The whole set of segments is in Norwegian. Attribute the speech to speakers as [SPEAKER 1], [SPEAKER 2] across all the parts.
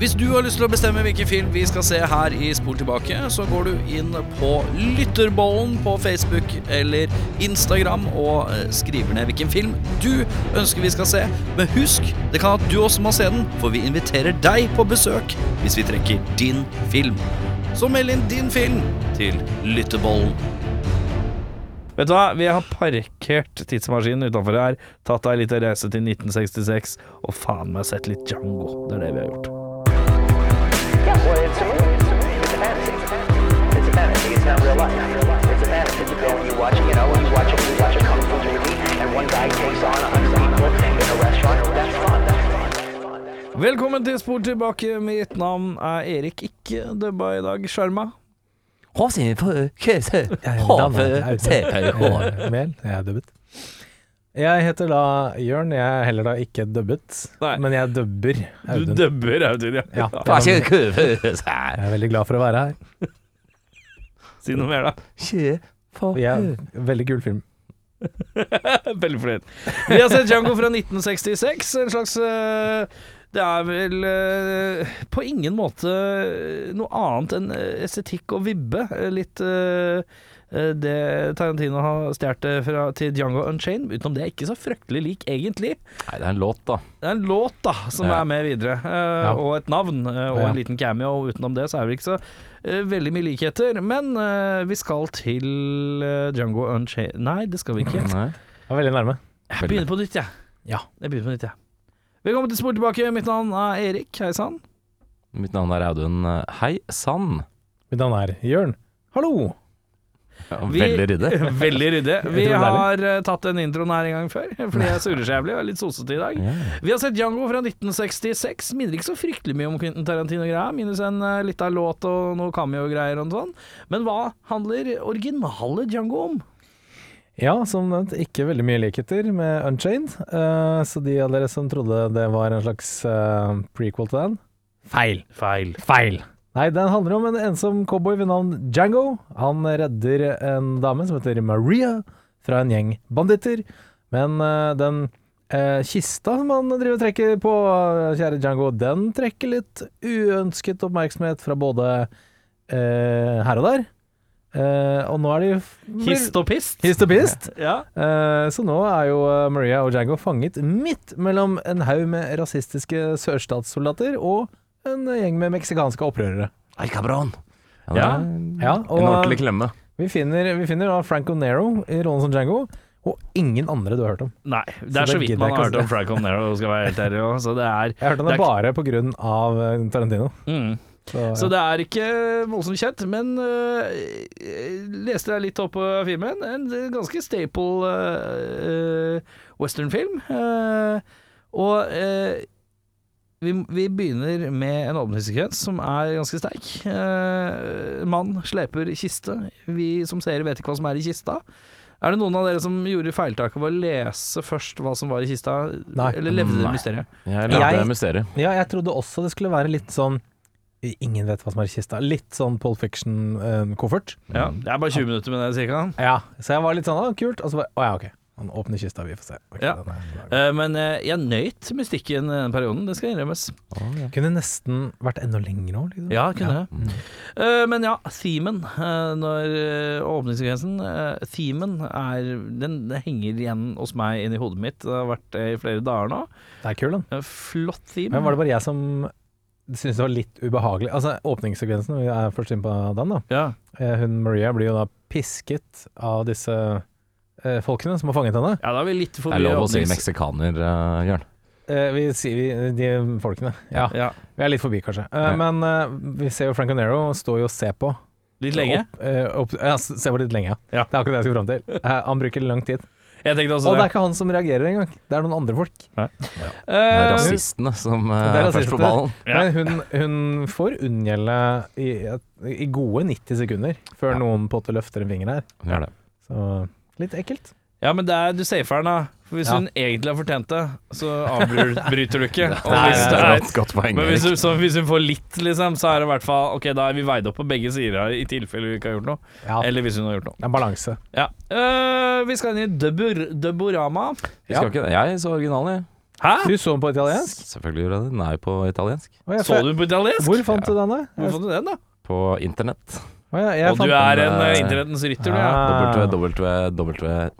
[SPEAKER 1] Hvis du har lyst til å bestemme hvilken film vi skal se her i Spol tilbake, så går du inn på Lytterbollen på Facebook eller Instagram og eh, skriver ned hvilken film du ønsker vi skal se. Men husk, det kan at du også må se den, for vi inviterer deg på besøk hvis vi trekker din film. Så meld inn din film til Lytterbollen.
[SPEAKER 2] Vet du hva, vi har parkert tidsmaskinen utenfor her, tatt deg litt reise til 1966, og faen meg sett litt Django. Det er det vi har gjort.
[SPEAKER 3] Yeah, well, it's a movie. It's a fantasy. It's a fantasy. It's not real life. It's a fantasy. You go and you watch, you know, you watch a, you watch a kung fu movie, and one guy takes on a hundred people in a restaurant. That's fun. That's fun. That's fun.
[SPEAKER 2] Velkommen til Spor tilbake. Mitt navn er Erik, ikke dubba i dag. Sjarma.
[SPEAKER 4] Mel, jeg er dubbet. Jeg heter da Jørn. Jeg er heller da ikke dubbet,
[SPEAKER 2] Nei.
[SPEAKER 4] men jeg dubber
[SPEAKER 2] Du
[SPEAKER 4] Audun.
[SPEAKER 2] dubber Audun, ja.
[SPEAKER 4] ja, jeg, er, sånn- jeg er veldig glad for å være her.
[SPEAKER 2] Si noe mer, da.
[SPEAKER 4] Jeg, veldig kul film.
[SPEAKER 2] Veldig fornøyd. Vi har sett Django fra 1966. En slags eh, Det er vel eh, på ingen måte noe annet enn eh, estetikk og vibbe. Eh, Litt eh, eh, det Tarantino har stjålet til Django Unchained. Utenom det er ikke så fryktelig lik, egentlig.
[SPEAKER 5] Nei, det er en låt, da.
[SPEAKER 2] Det er en låt da, som
[SPEAKER 5] Ja.
[SPEAKER 2] er med videre, eh, og et navn, eh, og en liten cameo. og Utenom det så er det ikke så eh, veldig mye likheter. Men eh, vi skal til eh, Django Unchained Nei, det skal vi ikke.
[SPEAKER 5] Nei.
[SPEAKER 4] Jeg var veldig nærme.
[SPEAKER 2] Jeg begynner på nytt, jeg.
[SPEAKER 4] Ja.
[SPEAKER 2] Jeg begynner på nytt, jeg. Velkommen til Spor tilbake. Mitt navn er Erik. Hei sann.
[SPEAKER 5] Mitt navn er Audun. Hei sann.
[SPEAKER 4] Mitt navn er Jørn. Hallo!
[SPEAKER 5] Ja,
[SPEAKER 2] Vi-
[SPEAKER 5] Veldig ryddig.
[SPEAKER 2] Veldig ryddig. Vi
[SPEAKER 4] det er
[SPEAKER 2] har eh, tatt den introen her en gang før, fordi jeg surrer så jævlig og er litt sosete i dag.
[SPEAKER 5] Ja.
[SPEAKER 2] Vi har sett Django fra 1966. Minner ikke så fryktelig mye om Quentin Tarantino-greia, minus en uh, lita låt og noe cameo-greier og sånn. Men hva handler originale Django om?
[SPEAKER 4] Ja, som nevnt, ikke veldig mye likheter med Unchained. Eh, så de av dere som trodde det var en slags eh, prequel til den Feil. Feil. Feil. Nei, den handler om en ensom cowboy ved navn Django. Han redder en dame som heter Maria fra en gjeng banditter. Men eh, den eh, kista som han driver og trekker på, eh, kjære Django, den trekker litt uønsket oppmerksomhet fra både eh, her og der. Eh, og nå er de
[SPEAKER 2] Hist og pist?
[SPEAKER 4] Hist og pist.
[SPEAKER 2] Ja.
[SPEAKER 4] Eh, Så nå er jo eh, Maria og Django fanget midt mellom en haug med rasistiske sørstatssoldater og en gjeng med meksikanske opprørere.
[SPEAKER 5] Ei, cabron. Ja, det
[SPEAKER 2] Ja.
[SPEAKER 5] er
[SPEAKER 4] Ja,
[SPEAKER 5] En
[SPEAKER 4] og
[SPEAKER 5] ordentlig
[SPEAKER 4] eh,
[SPEAKER 5] klemme.
[SPEAKER 4] vi finner, vi finner da Franco Nero i rollen som Django, og ingen andre du har hørt om.
[SPEAKER 2] Nei, det
[SPEAKER 4] Så
[SPEAKER 2] er så
[SPEAKER 4] det
[SPEAKER 2] vidt
[SPEAKER 4] gidder
[SPEAKER 2] man
[SPEAKER 4] jeg
[SPEAKER 2] har
[SPEAKER 4] ikke
[SPEAKER 2] hørt
[SPEAKER 4] å
[SPEAKER 2] om Franco Nero, skal være helt ærlig. også, Så det er,
[SPEAKER 4] Jeg hørte om
[SPEAKER 2] det
[SPEAKER 4] det
[SPEAKER 2] er,
[SPEAKER 4] bare pga. Tarantino.
[SPEAKER 2] ikke- mm.
[SPEAKER 4] Så,
[SPEAKER 2] Så
[SPEAKER 4] ja.
[SPEAKER 2] det er ikke voldsomt kjent, men øh, jeg leste jeg litt opp på filmen. En ganske staple øh, øh, westernfilm. øh, og øh, vi, vi begynner med en åpningssekvens som er ganske sterk. Eh, mann sleper kiste. Vi som seere vet ikke hva som er i kista. Er det noen av dere som gjorde feiltaket ved å lese først hva som var i kista?
[SPEAKER 4] Nei.
[SPEAKER 2] Eller levde det
[SPEAKER 5] Nei.
[SPEAKER 2] mysteriet?
[SPEAKER 5] Jeg lagde
[SPEAKER 4] Jeg-
[SPEAKER 5] jeg... mysteriet.
[SPEAKER 4] ja, jeg trodde også det skulle være litt sånn Ingen vet hva som er i kista. Litt sånn Pole Fiction-koffert.
[SPEAKER 2] Ja, det er bare 20 minutter med det, cirka.
[SPEAKER 4] ja, så jeg var litt sånn Å, kult. Og så bare Å ja, ok. Han åpner kista, vi får se. Ok,
[SPEAKER 2] Ja.
[SPEAKER 4] den er-
[SPEAKER 2] Eh, Men eh, jeg nøyt mystikken i den perioden, det skal innrømmes.
[SPEAKER 4] Kunne nesten vært enda lenger òg. Liksom.
[SPEAKER 2] Ja, kunne det. Eh, Men ja, themen eh, når eh, åpningssekvensen eh, Themen er Den henger igjen hos meg inni hodet mitt. Det har vært det i flere dager nå.
[SPEAKER 4] Det er kul, den.
[SPEAKER 2] Eh, Flott theme.
[SPEAKER 4] Men var det bare jeg som syntes det var litt ubehagelig? Altså, åpningssekvensen, vi er først inne på den, da.
[SPEAKER 2] Ja.
[SPEAKER 4] Eh, Hun Maria blir jo da pisket av disse eh, folkene som har fanget henne.
[SPEAKER 2] ja, da er vi litt
[SPEAKER 5] Det
[SPEAKER 2] forbi
[SPEAKER 5] er lov å si
[SPEAKER 2] åpnings-
[SPEAKER 5] meksikaner, eh, Jørn.
[SPEAKER 4] Eh, vi sier vi, de folkene. Ja,
[SPEAKER 2] Ja,
[SPEAKER 4] vi er litt forbi, kanskje. Eh,
[SPEAKER 5] Ja.
[SPEAKER 4] Men eh, vi ser jo Franco Nero står jo og ser på.
[SPEAKER 2] Litt lenge.
[SPEAKER 4] Opp, eh, opp, ja, s- ser på litt lenge,
[SPEAKER 2] Ja.
[SPEAKER 4] Det er akkurat det jeg skulle fram til. Eh, han bruker lang tid.
[SPEAKER 2] Jeg tenkte også
[SPEAKER 4] Og det
[SPEAKER 2] det.
[SPEAKER 4] er ikke han som reagerer engang, det er noen andre folk.
[SPEAKER 5] Det er
[SPEAKER 2] Eh,
[SPEAKER 5] rasistene som eh,
[SPEAKER 4] det er
[SPEAKER 5] er først
[SPEAKER 4] rasistene.
[SPEAKER 5] på ballen.
[SPEAKER 2] Ja.
[SPEAKER 4] Men hun, hun får unngjelde i, i gode 90 sekunder før
[SPEAKER 5] Ja.
[SPEAKER 4] noen på en måte løfter en finger her.
[SPEAKER 5] Hun gjør det.
[SPEAKER 4] Så litt ekkelt.
[SPEAKER 2] Ja, men det er, du safer den, da. For hvis
[SPEAKER 4] Ja.
[SPEAKER 2] hun egentlig har fortjent det, så avbryter du ikke. Og
[SPEAKER 4] Nei,
[SPEAKER 2] hvis
[SPEAKER 4] nei,
[SPEAKER 2] det
[SPEAKER 5] det
[SPEAKER 2] er
[SPEAKER 5] er et godt poeng,
[SPEAKER 2] Men hvis hun,
[SPEAKER 5] Erik.
[SPEAKER 2] så hvis hun får litt, liksom, så er det i hvert fall Ok, da er vi veid opp på begge sider her, i tilfelle vi ikke har gjort noe.
[SPEAKER 4] Ja, det
[SPEAKER 2] Eller hvis hun har gjort noe.
[SPEAKER 4] er balanse.
[SPEAKER 2] Ja. Eh, vi skal inn i Døbur, Døborama.
[SPEAKER 5] Vi skal ikke det. Jeg så originalen, jeg.
[SPEAKER 6] Hæ?
[SPEAKER 4] Du så den på italiensk?
[SPEAKER 5] Selvfølgelig gjorde jeg det. Den er jo på italiensk.
[SPEAKER 4] Å, jeg
[SPEAKER 6] Så du den på italiensk?
[SPEAKER 4] Hvor fant du denne?
[SPEAKER 6] Hvor fant du den, da?
[SPEAKER 5] På internett.
[SPEAKER 4] Å, ja, jeg
[SPEAKER 6] Og du
[SPEAKER 4] fant
[SPEAKER 6] er
[SPEAKER 5] den,
[SPEAKER 6] en eh,
[SPEAKER 5] eh,
[SPEAKER 6] internettens rytter, du, ja.
[SPEAKER 4] ja. Ah.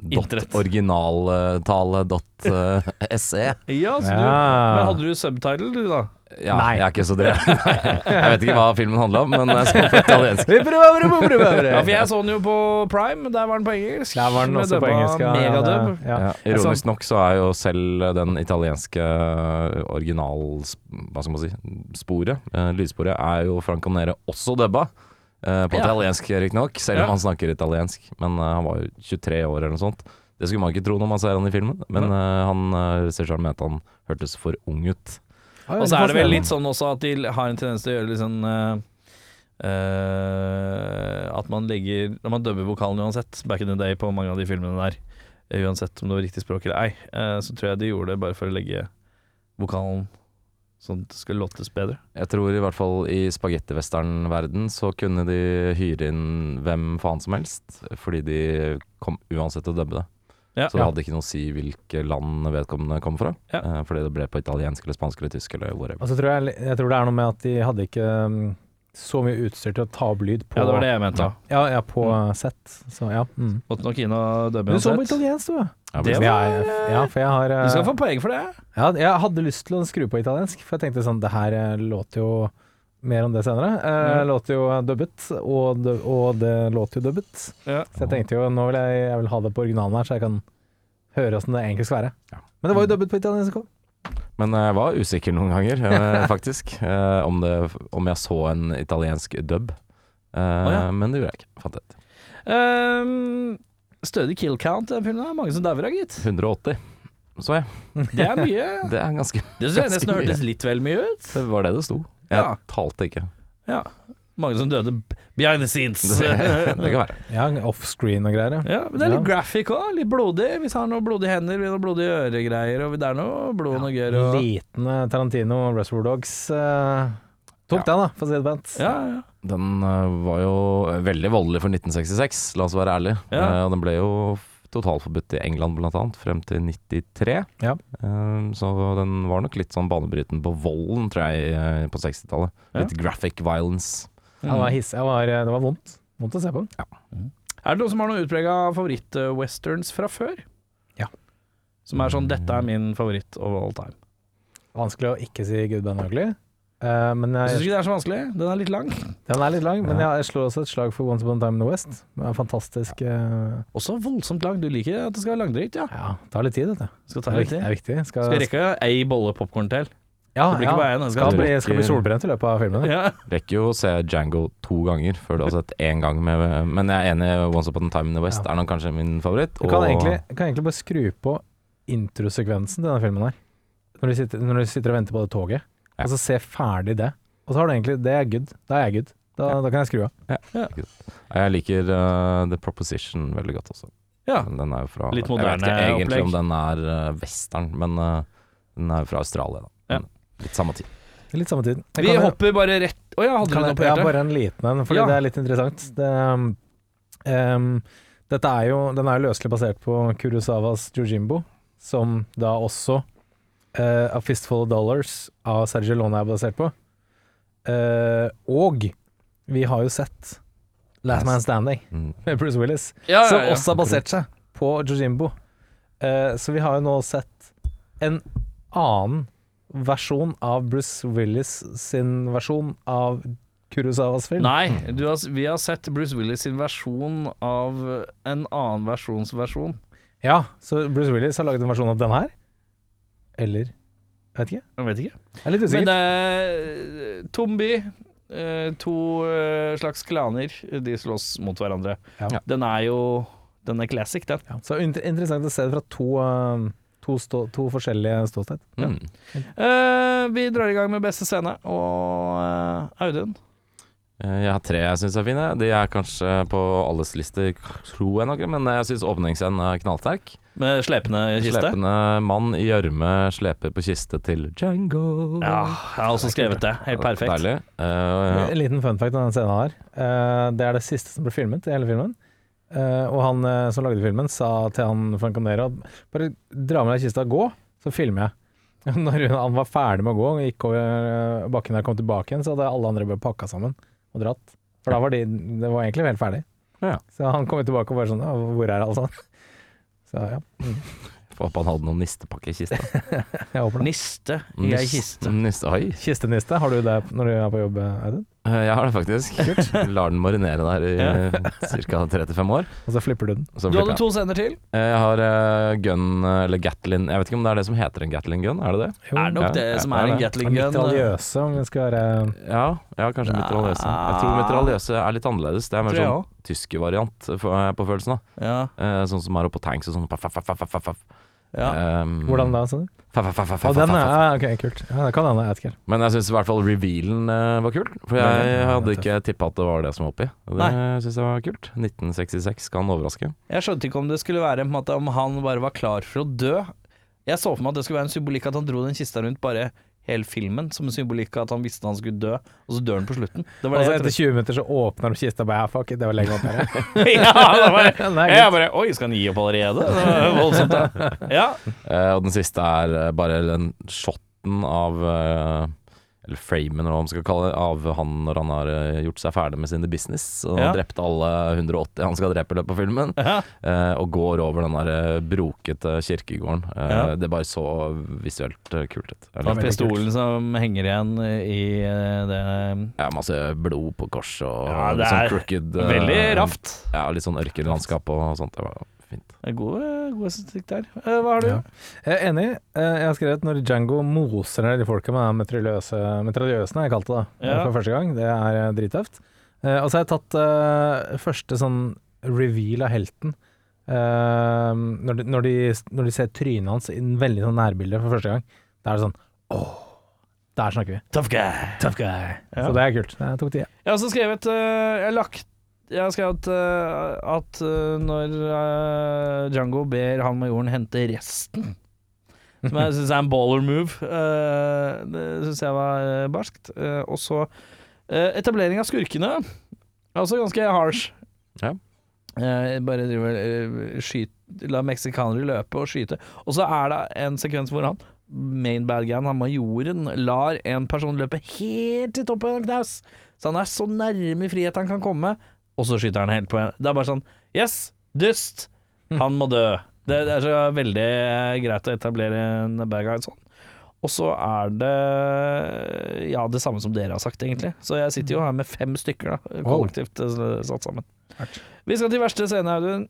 [SPEAKER 6] Internett.
[SPEAKER 5] www.originaltale.se.
[SPEAKER 4] E.
[SPEAKER 6] Ja, så altså. du,
[SPEAKER 4] Ja.
[SPEAKER 6] men hadde du subtitle, du, da?
[SPEAKER 5] Ja,
[SPEAKER 4] Nei.
[SPEAKER 5] jeg er ikke så dreven. Jeg vet ikke hva filmen handla om, men jeg så på italiensk.
[SPEAKER 4] Vi prøver, vi prøver!
[SPEAKER 6] Ja, for jeg så den jo på Prime, der var den på engelsk.
[SPEAKER 4] Der var den
[SPEAKER 6] Med
[SPEAKER 4] også på
[SPEAKER 6] dubba
[SPEAKER 4] engelsk. ja.
[SPEAKER 6] Megadub.
[SPEAKER 4] Ja.
[SPEAKER 5] Ja, ironisk nok så er jo selv den italienske eh, original... Hva skal man si? Sporet, eh, lydsporet, er jo Frank Anere også dubba. eh, På
[SPEAKER 6] Ja.
[SPEAKER 5] italiensk, riktignok, selv
[SPEAKER 6] Ja.
[SPEAKER 5] om han snakker italiensk. Men eh, han var jo 23 år eller noe sånt. Det skulle man ikke tro når man ser han i filmen, men eh, han eh, regissøren mente han hørtes for ung ut.
[SPEAKER 6] Og så er det vel litt sånn også at de har en tendens til å gjøre litt sånn eh, eh, At man legger Når man dubber vokalen uansett, back in the day på mange av de filmene der, eh, uansett om det var riktig språk eller ei, eh, så tror jeg de gjorde det bare for å legge vokalen sånn at det skulle låtes bedre.
[SPEAKER 5] Jeg tror i hvert fall i spagettivestern-verden så kunne de hyre inn hvem faen som helst, fordi de kom uansett til å dubbe det.
[SPEAKER 6] Ja.
[SPEAKER 5] Så det hadde ikke noe å si hvilke land vedkommende kom fra,
[SPEAKER 6] Ja.
[SPEAKER 5] eh, fordi det ble på italiensk eller spansk eller tysk eller whatever.
[SPEAKER 4] Og så tror jeg, jeg tror det er noe med at de hadde ikke um, så mye utstyr til å ta opp lyd på
[SPEAKER 6] Ja, det var det jeg mente. da.
[SPEAKER 4] Ja, ja, på uh, sett. Så ja. Mm.
[SPEAKER 6] Måtte nok inn og
[SPEAKER 4] Du
[SPEAKER 6] dubbe
[SPEAKER 4] så på
[SPEAKER 6] uansett.
[SPEAKER 4] italiensk, du.
[SPEAKER 5] Ja,
[SPEAKER 6] det
[SPEAKER 5] men-
[SPEAKER 4] Ja, jeg- ja, for jeg har
[SPEAKER 6] Du skal
[SPEAKER 4] uh,
[SPEAKER 6] få poeng for det.
[SPEAKER 4] ja, Jeg hadde lyst til å skru på italiensk, for jeg tenkte sånn Det her eh, låter jo mer om det senere. Eh, Låter jo dubbet, og, dub- og det låter jo dubbet.
[SPEAKER 6] Ja.
[SPEAKER 4] Så jeg tenkte jo nå vil jeg, jeg vil ha det på originalen her, så jeg kan høre åssen det egentlig skal være.
[SPEAKER 5] Ja.
[SPEAKER 4] Men det var jo dubbet på italiensk òg.
[SPEAKER 5] Men eh, jeg var usikker noen ganger, eh, faktisk, eh, om, det, om jeg så en italiensk dub. Eh,
[SPEAKER 6] ja.
[SPEAKER 5] Men det gjorde jeg ikke. Fant jeg ut.
[SPEAKER 6] Ehm, stødig kill count i den filmen. Det er mange som dauer av, gitt.
[SPEAKER 5] 180 så jeg.
[SPEAKER 6] Det er mye.
[SPEAKER 5] Det er ganske
[SPEAKER 6] Det synes jeg nesten
[SPEAKER 5] Ganske mye.
[SPEAKER 6] hørtes litt vel mye ut.
[SPEAKER 5] Det var det det sto. Jeg
[SPEAKER 6] Ja.
[SPEAKER 5] talte ikke.
[SPEAKER 6] Ja. Mange som døde b- behind the scenes.
[SPEAKER 5] Det, det kan være.
[SPEAKER 4] Ja, offscreen og greier.
[SPEAKER 6] Ja, men det er litt graphic òg. Litt blodig. Vi har noe blodige hender, vi har noe blodige øregreier, og det er noe blod og noe gørr og
[SPEAKER 4] Liten eh, Tarantino, Reservoir Dogs. eh, tok den, da, for å si det pent.
[SPEAKER 6] ja, ja.
[SPEAKER 5] Den eh, var jo veldig voldelig for 1966, la oss være ærlige.
[SPEAKER 6] Ja.
[SPEAKER 5] Eh, og den ble jo totalforbudt i England blant annet, frem til 93.
[SPEAKER 4] Ja.
[SPEAKER 5] Eh, så den var nok litt sånn banebryten på volden, tror jeg, eh, på 60-tallet.
[SPEAKER 6] Ja.
[SPEAKER 5] Litt graphic violence.
[SPEAKER 4] Ja, det, var hiss, jeg var, eh, det var vondt. Vondt å se på.
[SPEAKER 6] Er det noen som har noen utprega favoritt-westerns fra før?
[SPEAKER 4] Ja.
[SPEAKER 6] Som er sånn 'Dette er min favoritt of all time'.
[SPEAKER 4] Vanskelig å ikke si Good Band Ugly. Eh, men
[SPEAKER 6] Jeg syns
[SPEAKER 4] jeg,
[SPEAKER 6] ikke det er så vanskelig. Den er litt lang.
[SPEAKER 4] den er litt lang, men jeg, jeg slår også et slag for Once Upon a Time in the West. Det er fantastisk eh,
[SPEAKER 6] Også voldsomt lang. Du liker at det skal være langdrygt, ja.
[SPEAKER 4] Ja, det tar litt tid, dette.
[SPEAKER 6] Skal
[SPEAKER 4] Det
[SPEAKER 6] ta
[SPEAKER 4] er,
[SPEAKER 6] litt
[SPEAKER 4] viktig-
[SPEAKER 6] tid.
[SPEAKER 4] det er viktig. Skal,
[SPEAKER 6] Skal jeg rekke ei bolle popkorn til?
[SPEAKER 4] Ja,
[SPEAKER 6] Det blir
[SPEAKER 4] ja.
[SPEAKER 6] ikke bare én. det
[SPEAKER 4] Skal
[SPEAKER 6] Skal
[SPEAKER 4] bli, skal bli solbrent i løpet av filmen.
[SPEAKER 6] ja.
[SPEAKER 5] Rekker jo å se Django to ganger før du har sett én gang med Men jeg er enig, Once Upon a Time in the West
[SPEAKER 4] Ja.
[SPEAKER 5] er nok kanskje min favoritt.
[SPEAKER 4] Du kan egentlig, kan egentlig bare skru på introsekvensen til denne filmen her. Når du sitter, når du sitter og venter på det toget,
[SPEAKER 5] Ja.
[SPEAKER 4] og så se ferdig det. Og så har du egentlig Det er good. Da er jeg good. Da, da kan jeg skru av.
[SPEAKER 5] Jeg liker eh, The Proposition veldig godt også.
[SPEAKER 6] Ja.
[SPEAKER 5] Den er jo fra Jeg
[SPEAKER 6] Litt
[SPEAKER 5] vet
[SPEAKER 6] moderne
[SPEAKER 5] ikke egentlig
[SPEAKER 6] opplegg.
[SPEAKER 5] om den er eh, western, men eh, den er jo fra Australia, da.
[SPEAKER 6] Ja.
[SPEAKER 5] Men Litt samme tid.
[SPEAKER 4] Litt samme tid. Jeg
[SPEAKER 6] Vi
[SPEAKER 4] kan-
[SPEAKER 6] hopper bare rett Å ja, hadde du
[SPEAKER 4] Kan
[SPEAKER 6] noe
[SPEAKER 4] jeg,
[SPEAKER 6] på
[SPEAKER 4] jeg har
[SPEAKER 6] hjertet?
[SPEAKER 4] bare en liten en, fordi
[SPEAKER 6] Ja.
[SPEAKER 4] det er litt interessant. Det, um, um, dette er jo, den er jo løselig basert på Kurosawas Jojimbo, som da også eh, A Fistful of Dollars av Sergio Lone er basert på. Eh, og vi har jo sett Last Man Standing
[SPEAKER 5] Mm.
[SPEAKER 4] med Bruce Willis,
[SPEAKER 6] Ja,
[SPEAKER 4] som
[SPEAKER 6] Ah, ja, ja.
[SPEAKER 4] også har basert seg på Jojimbo. Eh, så vi har jo nå sett en annen versjon av Bruce Willis sin versjon av Kurosawas film.
[SPEAKER 6] Nei, du har, vi har sett Bruce Willis sin versjon av en annen versjons versjon.
[SPEAKER 4] Ja, så Bruce Willis har laget en versjon av den her? Eller Jeg vet ikke.
[SPEAKER 6] Jeg vet ikke.
[SPEAKER 4] Jeg er litt
[SPEAKER 6] Men eh,
[SPEAKER 4] usikker.
[SPEAKER 6] det er Tombi. eh, To eh, slags klaner. De slåss mot hverandre.
[SPEAKER 4] Ja.
[SPEAKER 6] Den er jo Den er classic, den.
[SPEAKER 4] ja. Så inter interessant å se det fra to, eh, to, stå to forskjellige ståsted.
[SPEAKER 5] Mm.
[SPEAKER 6] Eh, vi drar i gang med beste scene, og eh, Audun
[SPEAKER 5] Eh, Jeg har tre jeg syns er fine. De er kanskje på alles lister, tror jeg nok, men jeg syns åpningsscenen er knallsterk.
[SPEAKER 6] med slepende kiste.
[SPEAKER 5] Slepende mann i gjørme sleper på kiste til Django.
[SPEAKER 6] Ja, jeg har også skrevet det. Helt perfekt.
[SPEAKER 5] Deilig. Eh,
[SPEAKER 4] En liten fun fact om den scenen her. Eh, det er det siste som ble filmet i hele filmen. Eh, og han eh, som lagde filmen, sa til han Frank Andero bare dra med deg kista og gå, så filmer jeg. Når hun, han var ferdig med å gå og gikk over eh, bakken der og kom tilbake igjen, så hadde alle andre bare pakka sammen og dratt. For da var de Det var egentlig helt ferdig.
[SPEAKER 5] Ja.
[SPEAKER 4] Så han kom jo tilbake og bare sånn «Å, Hvor er alle sammen? Så ja,
[SPEAKER 5] Får håpe han hadde noen nistepakke i kista.
[SPEAKER 4] jeg håper det.
[SPEAKER 6] Niste i ei
[SPEAKER 5] Nis-
[SPEAKER 6] kiste.
[SPEAKER 5] Niste, oi.
[SPEAKER 4] Kisteniste, har du det når du er på jobb, Audun?
[SPEAKER 5] Eh, Jeg har det faktisk. Kult. Lar den marinere der i ca. 3-5 år.
[SPEAKER 4] Og så flipper du den?
[SPEAKER 5] Så
[SPEAKER 6] Du
[SPEAKER 5] flipper
[SPEAKER 6] hadde
[SPEAKER 5] jeg.
[SPEAKER 6] to sender til.
[SPEAKER 5] Eh, Jeg har eh, gun, eh, eller Gatlin Jeg vet ikke om det er det som heter en Gatlin gun, er det det?
[SPEAKER 4] Jo,
[SPEAKER 6] Er det nok
[SPEAKER 5] Ja,
[SPEAKER 6] det
[SPEAKER 5] ja,
[SPEAKER 6] som
[SPEAKER 5] ja,
[SPEAKER 6] er en
[SPEAKER 5] ja.
[SPEAKER 6] Gatling gun.
[SPEAKER 4] Mitraljøse, om vi skal være
[SPEAKER 5] Ja, ja kanskje mitraljøse. Jeg tror mitraljøse er litt annerledes. Det er mer
[SPEAKER 6] Tror jeg
[SPEAKER 5] sånn tysk variant eh, for- eh, på følelsen. da
[SPEAKER 6] Ja,
[SPEAKER 5] Eh, Sånn som er oppå tanks og sånn. Paff, paff, paff, paff, paff, paff.
[SPEAKER 6] ja.
[SPEAKER 5] Ehm,
[SPEAKER 4] Hvordan da, sa du?
[SPEAKER 5] Paff, paff, paff, paff,
[SPEAKER 4] Å,
[SPEAKER 5] paff,
[SPEAKER 4] den
[SPEAKER 5] paff,
[SPEAKER 4] er
[SPEAKER 5] paff.
[SPEAKER 4] ja, OK, kult. Ja, det kan hende. Jeg vet ikke. helt.
[SPEAKER 5] Men jeg syns i hvert fall revealen eh, var kul. For
[SPEAKER 4] Ja,
[SPEAKER 5] jeg
[SPEAKER 4] den er
[SPEAKER 5] hadde
[SPEAKER 4] tøff.
[SPEAKER 5] ikke tippa at det var det som var oppi. Det syns jeg var kult. 1966 kan overraske.
[SPEAKER 6] Jeg skjønte ikke om det skulle være på en måte, om han bare var klar for å dø. Jeg så for meg at det skulle være en symbolikk at han dro den kista rundt bare hele filmen, som en symbolikk at han visste han skulle dø, og så dør han på slutten. Det
[SPEAKER 4] Og
[SPEAKER 6] var det
[SPEAKER 4] så Altså,
[SPEAKER 6] jeg
[SPEAKER 4] etter 20 minutter så åpner de kista og bare ja, fuck it, det var lenge opp her.
[SPEAKER 6] trodde. ja, det var,
[SPEAKER 4] Nei,
[SPEAKER 6] jeg bare Oi, skal han gi opp allerede? Det var voldsomt, da. Ja.
[SPEAKER 5] Eh, og den siste er eh, bare den shotten av eh, Eller framen, eller hva man skal kalle det, av han når han har eh, gjort seg ferdig med sin The business. Og han
[SPEAKER 6] Ja.
[SPEAKER 5] har drept alle 180 han skal drepe i løpet av filmen.
[SPEAKER 6] ja.
[SPEAKER 5] eh, og går over den der eh, brokete kirkegården. Eh,
[SPEAKER 6] Ja.
[SPEAKER 5] Det bare så visuelt eh, kult ut.
[SPEAKER 4] Ja,
[SPEAKER 5] Eller,
[SPEAKER 6] Og
[SPEAKER 4] veldig
[SPEAKER 6] pistolen som henger igjen i eh, det
[SPEAKER 5] ja, masse blod på korset og
[SPEAKER 6] Ja, det
[SPEAKER 5] litt sånn
[SPEAKER 6] er
[SPEAKER 5] crooked eh,
[SPEAKER 6] Veldig raft.
[SPEAKER 5] Ja, litt sånn ørkenlandskap og sånt. Det var fint.
[SPEAKER 6] Det er God, god estetikk der. Eh, Hva har du?
[SPEAKER 4] Ja. Jeg er enig. Eh, Jeg har skrevet når Django moser ned de folka med den mitraljøse- mitraljøsen, har jeg kalt det da,
[SPEAKER 6] Ja.
[SPEAKER 4] for første gang. Det er eh, drittøft. Eh, Og så har jeg tatt eh, første sånn reveal av helten. Eh, når, de, når, de, når de ser trynet hans i en veldig sånn nærbilde for første gang, da er det sånn åh, der snakker vi.
[SPEAKER 6] Tough guy.
[SPEAKER 4] Tough guy.
[SPEAKER 6] Ja.
[SPEAKER 4] Så det er kult. Jeg tok tida.
[SPEAKER 6] Jeg har også skrevet eh, Jeg har lagt jeg har skrevet eh, at eh, når eh, Django ber han majoren hente resten Som jeg syns er en baller move. eh, det syns jeg var eh, barskt. Eh, og så eh, etablering av skurkene. Er også ganske harsh.
[SPEAKER 5] Ja.
[SPEAKER 6] Eh, bare driver eh, skyt, La meksikanere løpe og skyte. Og så er det en sekvens hvor han main bad guyen, han majoren, lar en person løpe helt til toppen av en knaus. Så han er så nærme frihet han kan komme, og så skyter han helt på en. Det er bare sånn Yes, dyst! Han må dø. Det, det er så veldig eh, greit å etablere en bad guy sånn. Og så er det ja, det samme som dere har sagt, egentlig. Så jeg sitter jo her med fem stykker, da, kollektivt eh, satt sammen. Vi skal til verste scene, Audun.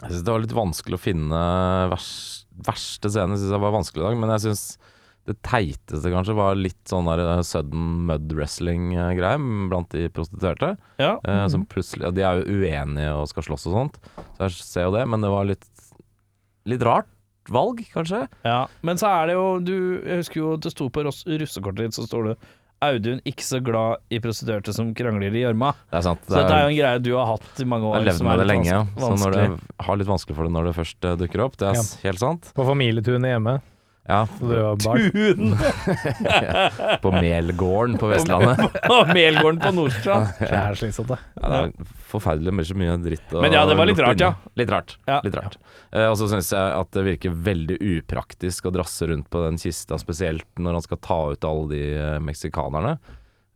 [SPEAKER 5] Jeg synes det var litt vanskelig å finne vers, verste scene, synes jeg var vanskelig i dag, men jeg synes det teiteste kanskje var litt sånn der sudden mud wrestling-greie blant de prostituerte.
[SPEAKER 6] Ja.
[SPEAKER 5] eh, Som plutselig, ja, De er jo uenige og skal slåss og sånt, så jeg ser jo det, men det var litt, litt rart valg, kanskje.
[SPEAKER 6] Ja, men så er det jo du, Jeg husker jo at det sto på ross- russekortet ditt, så står det Audun ikke så glad i prostituerte som krangler i gjørma.
[SPEAKER 5] Det er sant.
[SPEAKER 6] Så dette er jo en greie du har hatt i mange
[SPEAKER 5] jeg
[SPEAKER 6] år.
[SPEAKER 5] har levd
[SPEAKER 6] som
[SPEAKER 5] med
[SPEAKER 6] er
[SPEAKER 5] det
[SPEAKER 6] litt
[SPEAKER 5] lenge,
[SPEAKER 6] vans-
[SPEAKER 5] så når det
[SPEAKER 6] vanskelig.
[SPEAKER 5] har litt vanskelig for det når det først eh, dukker opp. Det er s- helt sant.
[SPEAKER 4] På familieturen hjemme,
[SPEAKER 5] Ja,
[SPEAKER 4] da du var barn.
[SPEAKER 6] Hun
[SPEAKER 5] På Melgården på Vestlandet.
[SPEAKER 6] og Melgården på Nordstrand.
[SPEAKER 4] Det er slitsomt, det.
[SPEAKER 5] Ja, det er forferdelig mye, så mye dritt og
[SPEAKER 6] Men ja, det var litt
[SPEAKER 5] lukt
[SPEAKER 6] rart, ja.
[SPEAKER 5] inni. Litt rart.
[SPEAKER 6] Ja.
[SPEAKER 5] Litt rart. Eh, og så syns jeg at det virker veldig upraktisk å drasse rundt på den kista, spesielt når han skal ta ut alle de eh, meksikanerne.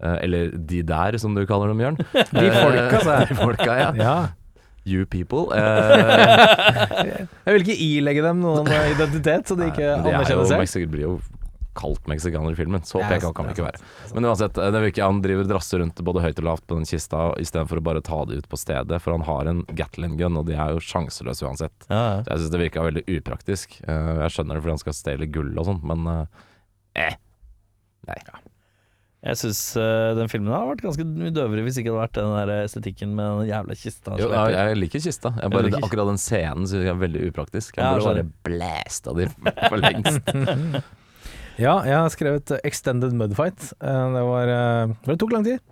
[SPEAKER 5] Eh, eller de der, som du kaller dem, Jørn.
[SPEAKER 4] De folka, sa
[SPEAKER 6] altså.
[SPEAKER 4] jeg.
[SPEAKER 5] De folka, ja.
[SPEAKER 4] Ja.
[SPEAKER 5] You people. Eh,
[SPEAKER 4] Jeg vil ikke ilegge dem noen identitet, så de ikke
[SPEAKER 5] Nei, men det er jo
[SPEAKER 4] anerkjenner seg.
[SPEAKER 5] Mexi- blir jo kalt meksikaner i filmen. Så
[SPEAKER 4] Det er
[SPEAKER 5] PK
[SPEAKER 4] sant,
[SPEAKER 5] kan vi
[SPEAKER 4] altså,
[SPEAKER 5] ikke
[SPEAKER 4] det er
[SPEAKER 5] være. Men uansett, det virker han driver og drasser rundt både høyt og lavt på den kista istedenfor å bare ta det ut på stedet, for han har en Gatlin gun, og de er jo sjanseløse uansett. Så jeg syns det virka veldig upraktisk. Eh, Jeg skjønner det fordi han skal stjele gull og sånn, men eh, eh. Nei.
[SPEAKER 6] Jeg syns den filmen hadde vært ganske mye døvere hvis ikke det hadde vært den der estetikken med den jævla
[SPEAKER 4] altså,
[SPEAKER 6] kista.
[SPEAKER 5] Jo, jeg, jeg liker kista. Jeg bare,
[SPEAKER 6] Jeg liker
[SPEAKER 5] akkurat den scenen syns jeg er veldig upraktisk. Jeg
[SPEAKER 6] Ja,
[SPEAKER 5] burde bare
[SPEAKER 6] skjønner.
[SPEAKER 5] blæsta de for lengst.
[SPEAKER 4] Ja, jeg har skrevet eh, Extended Mudfight. Eh, Det var eh, for Det tok lang tid.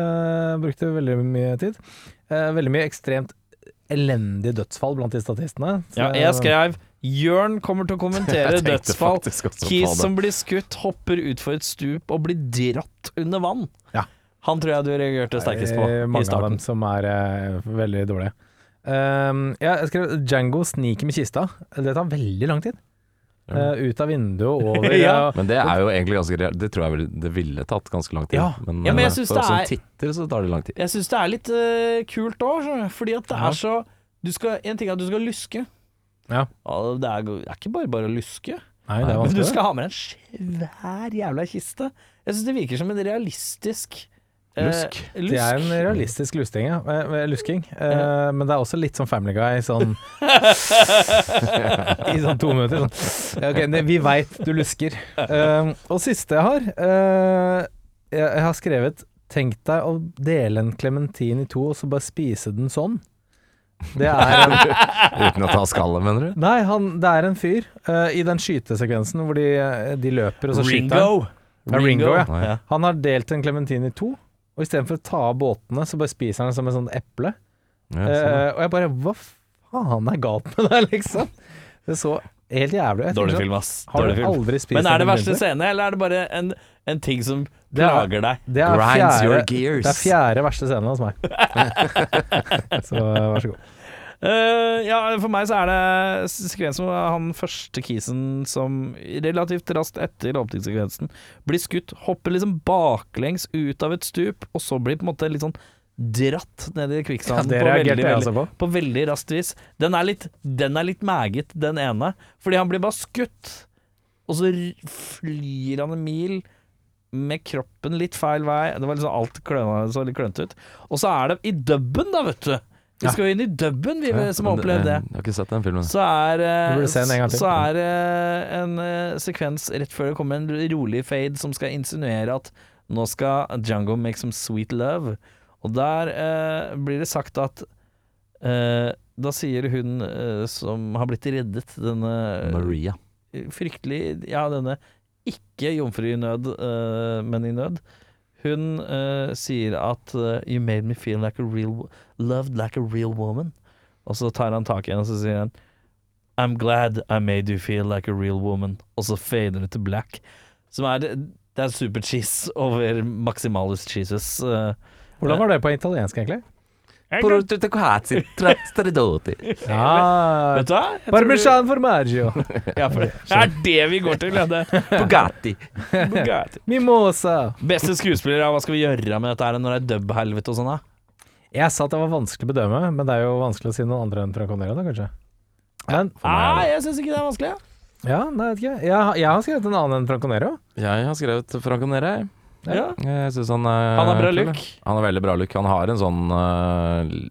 [SPEAKER 4] Eh, brukte veldig mye tid. Eh, veldig mye ekstremt elendig dødsfall blant de statistene. Så-
[SPEAKER 6] ja, jeg skrev Jørn kommer til å kommentere
[SPEAKER 5] Jeg tenkte
[SPEAKER 6] dødsfall.
[SPEAKER 5] faktisk også på
[SPEAKER 6] Kis
[SPEAKER 5] det.
[SPEAKER 6] som blir skutt, hopper utfor et stup og blir dratt under vann.
[SPEAKER 4] Ja.
[SPEAKER 6] Han tror jeg du reagerte sterkest på
[SPEAKER 4] Det er
[SPEAKER 6] i
[SPEAKER 4] Mange av
[SPEAKER 6] starten.
[SPEAKER 4] dem som er eh, veldig dårlige. Eh, Um, ja, jeg skrev Django sniker med kista. Det tar veldig lang tid. eh, ut av vinduet og over.
[SPEAKER 7] Ja.
[SPEAKER 4] og-
[SPEAKER 5] Men det er jo egentlig ganske reelt. Det tror jeg vel, det ville tatt ganske lang tid.
[SPEAKER 7] Ja.
[SPEAKER 5] Men,
[SPEAKER 7] Ja, men jeg
[SPEAKER 5] eh,
[SPEAKER 7] synes
[SPEAKER 5] for
[SPEAKER 7] det
[SPEAKER 5] oss som
[SPEAKER 7] er-
[SPEAKER 5] titter, så tar det lang tid.
[SPEAKER 7] Jeg syns det er litt eh, kult òg, fordi at det er så du skal, En ting er at du skal luske.
[SPEAKER 4] Ja.
[SPEAKER 7] det, er, det er ikke bare bare å luske.
[SPEAKER 4] Nei, det er
[SPEAKER 7] Men du
[SPEAKER 4] vanskelig.
[SPEAKER 7] skal ha med deg en svær jævla kiste. Jeg syns det virker som en realistisk eh,
[SPEAKER 5] Lusk.
[SPEAKER 7] lusk.
[SPEAKER 4] Det er en realistisk lusting, ja. Eh, eh, lusking. Eh, Men det er også litt sånn Family Guy, sånn I sånn to minutter. Sånn. Ja, ok, det- vi veit du lusker. Eh, og siste jeg har eh, jeg, jeg har skrevet 'Tenk deg å dele en klementin i to, og så bare spise den sånn'. Det er en
[SPEAKER 5] Uten å ta skallet, mener du?
[SPEAKER 4] Nei, han, det er en fyr eh, i den skytesekvensen hvor de, eh, de løper og så skyter han.
[SPEAKER 7] Ringo.
[SPEAKER 4] Ja, Ringo, ja.
[SPEAKER 5] Nei.
[SPEAKER 7] Ja.
[SPEAKER 4] Han har delt en klementin i to, og istedenfor å ta av båtene, så bare spiser han det som en sånn eple.
[SPEAKER 5] Ja, sånn.
[SPEAKER 4] Eh, og jeg bare Hva faen er galt med deg, liksom? Det så helt jævlig ut.
[SPEAKER 7] Dårlig film, ass.
[SPEAKER 4] Har
[SPEAKER 7] Dårlig
[SPEAKER 4] du
[SPEAKER 7] film.
[SPEAKER 4] aldri spist
[SPEAKER 7] Men er det
[SPEAKER 4] en
[SPEAKER 7] verste
[SPEAKER 4] klementin?
[SPEAKER 7] scene, eller er det bare en, en ting som
[SPEAKER 4] Det er-
[SPEAKER 7] plager deg?
[SPEAKER 4] Det er,
[SPEAKER 5] Grinds
[SPEAKER 4] fjerde,
[SPEAKER 5] your
[SPEAKER 4] det er
[SPEAKER 5] gears.
[SPEAKER 4] fjerde verste scenen hos meg. så eh, vær så god.
[SPEAKER 6] Eh, ja, for meg så er det sekvensen hvor han første kisen som relativt raskt etter åpningssekvensen blir skutt, hopper liksom baklengs ut av et stup, og så blir på en måte litt sånn dratt ned i
[SPEAKER 4] Ja,
[SPEAKER 6] kvikksanden
[SPEAKER 4] det
[SPEAKER 6] på, veldig,
[SPEAKER 4] reagerte jeg
[SPEAKER 6] veldig,
[SPEAKER 4] altså på.
[SPEAKER 6] på veldig raskt vis. Den er litt, den er litt meget, den ene, fordi han blir bare skutt, og så r- flyr han en mil med kroppen litt feil vei. Det var liksom alt kløna, så litt klønete ut. Og så er det i dubben, da, vet du. Vi skal jo inn i dubben, vi
[SPEAKER 5] Ja,
[SPEAKER 6] som
[SPEAKER 5] men
[SPEAKER 6] har opplevd det.
[SPEAKER 5] eh, Jeg har ikke sett den filmen.
[SPEAKER 6] Så er,
[SPEAKER 4] Du
[SPEAKER 6] eh,
[SPEAKER 4] burde se den en gang til.
[SPEAKER 6] så er eh, en eh, sekvens rett før det kommer en rolig fade som skal insinuere at nå skal Django make some sweet love. Og der eh, blir det sagt at eh, Da sier hun eh, som har blitt reddet, denne
[SPEAKER 5] Maria.
[SPEAKER 6] fryktelig Ja, denne ikke jomfru i nød, eh, men i nød. Hun eh, sier at eh, You made me feel like a real loved like a real woman. Og så tar han tak i henne og så sier han I'm glad I made you feel like a real woman. Og så fader det til black. Som er Det er super cheese over maximalus cheeses. eh.
[SPEAKER 4] Hvordan var det på italiensk, egentlig? Ja,
[SPEAKER 6] Vet du hva? Jeg tror du-
[SPEAKER 4] Parmesan formaggio.
[SPEAKER 6] Ja, for det er det vi går til. ja, det.
[SPEAKER 5] Bugatti.
[SPEAKER 6] Bugatti.
[SPEAKER 4] Mimosa.
[SPEAKER 6] Beste skuespiller, ja, hva skal vi gjøre med dette her når det er dub-helvete og sånn? da?
[SPEAKER 4] Jeg sa at det var vanskelig å bedømme, men det er jo vanskelig å si noen andre enn Frank Conneria, da, kanskje. Men,
[SPEAKER 6] Nei, Ah, jeg syns ikke det er vanskelig. Ja.
[SPEAKER 4] ja, nei, vet ikke. Jeg, jeg har skrevet en annen enn Frank Conneria.
[SPEAKER 5] Jeg har skrevet Frank Nere.
[SPEAKER 6] Ja. Eh,
[SPEAKER 5] Jeg synes han er
[SPEAKER 6] Han har bra
[SPEAKER 5] kul,
[SPEAKER 6] look.
[SPEAKER 5] jeg. Han har veldig bra look. Han har en sånn eh,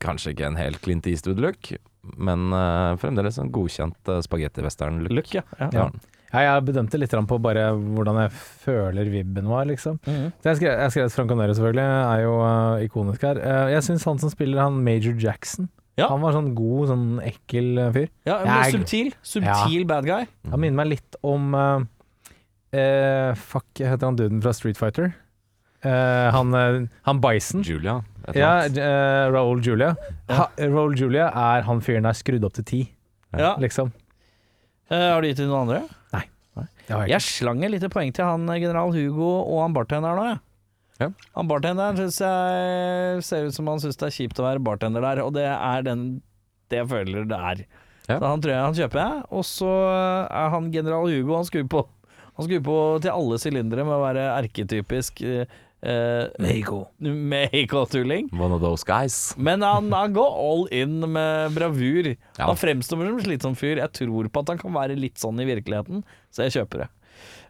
[SPEAKER 5] Kanskje ikke en helt Clint Eastwood-look, men eh, fremdeles en godkjent uh, spagetti-western-look.
[SPEAKER 6] Look, ja. ja.
[SPEAKER 5] Ja.
[SPEAKER 4] Ja, jeg bedømte litt grann på bare hvordan jeg føler vibben var, liksom. Så jeg skrev, jeg skrev at Frank Conneria selvfølgelig er jo øh, ikonisk her. Eh, jeg syns han som spiller han Major Jackson,
[SPEAKER 6] Ja.
[SPEAKER 4] han var sånn god, sånn ekkel øh, fyr.
[SPEAKER 6] men
[SPEAKER 4] Jeg-
[SPEAKER 6] subtil. Subtil bad guy.
[SPEAKER 4] Han minner meg litt om eh, eh, Fuck, heter han duden fra Street Fighter? Eh, han, eh, han Bison.
[SPEAKER 5] Julia. et eller
[SPEAKER 4] Ja,
[SPEAKER 5] annet.
[SPEAKER 4] eh, Raoul Julia. Ha, Raoul Julia er han fyren der skrudd opp til ti,
[SPEAKER 6] Ja.
[SPEAKER 4] liksom.
[SPEAKER 6] Eh, har du gitt til noen andre?
[SPEAKER 4] Det har jeg
[SPEAKER 6] Jeg slang et lite poeng til han eh, general Hugo og han bartenderen nå, jeg.
[SPEAKER 5] Ja.
[SPEAKER 6] Han bartenderen syns jeg ser ut som han syns det er kjipt å være bartender der, og det er den det jeg føler det er.
[SPEAKER 5] Ja.
[SPEAKER 6] Så han tror jeg han kjøper, jeg. Og så er han general Hugo, han skrur på. Han skrur på til alle sylindere med å være erketypisk eh, Mexico. Mexico-tulling.
[SPEAKER 5] One of those guys.
[SPEAKER 6] Men han, han går all in med bravur.
[SPEAKER 5] Ja.
[SPEAKER 6] Han fremstår som en slitsom fyr. Jeg tror på at han kan være litt sånn i virkeligheten, så jeg kjøper det.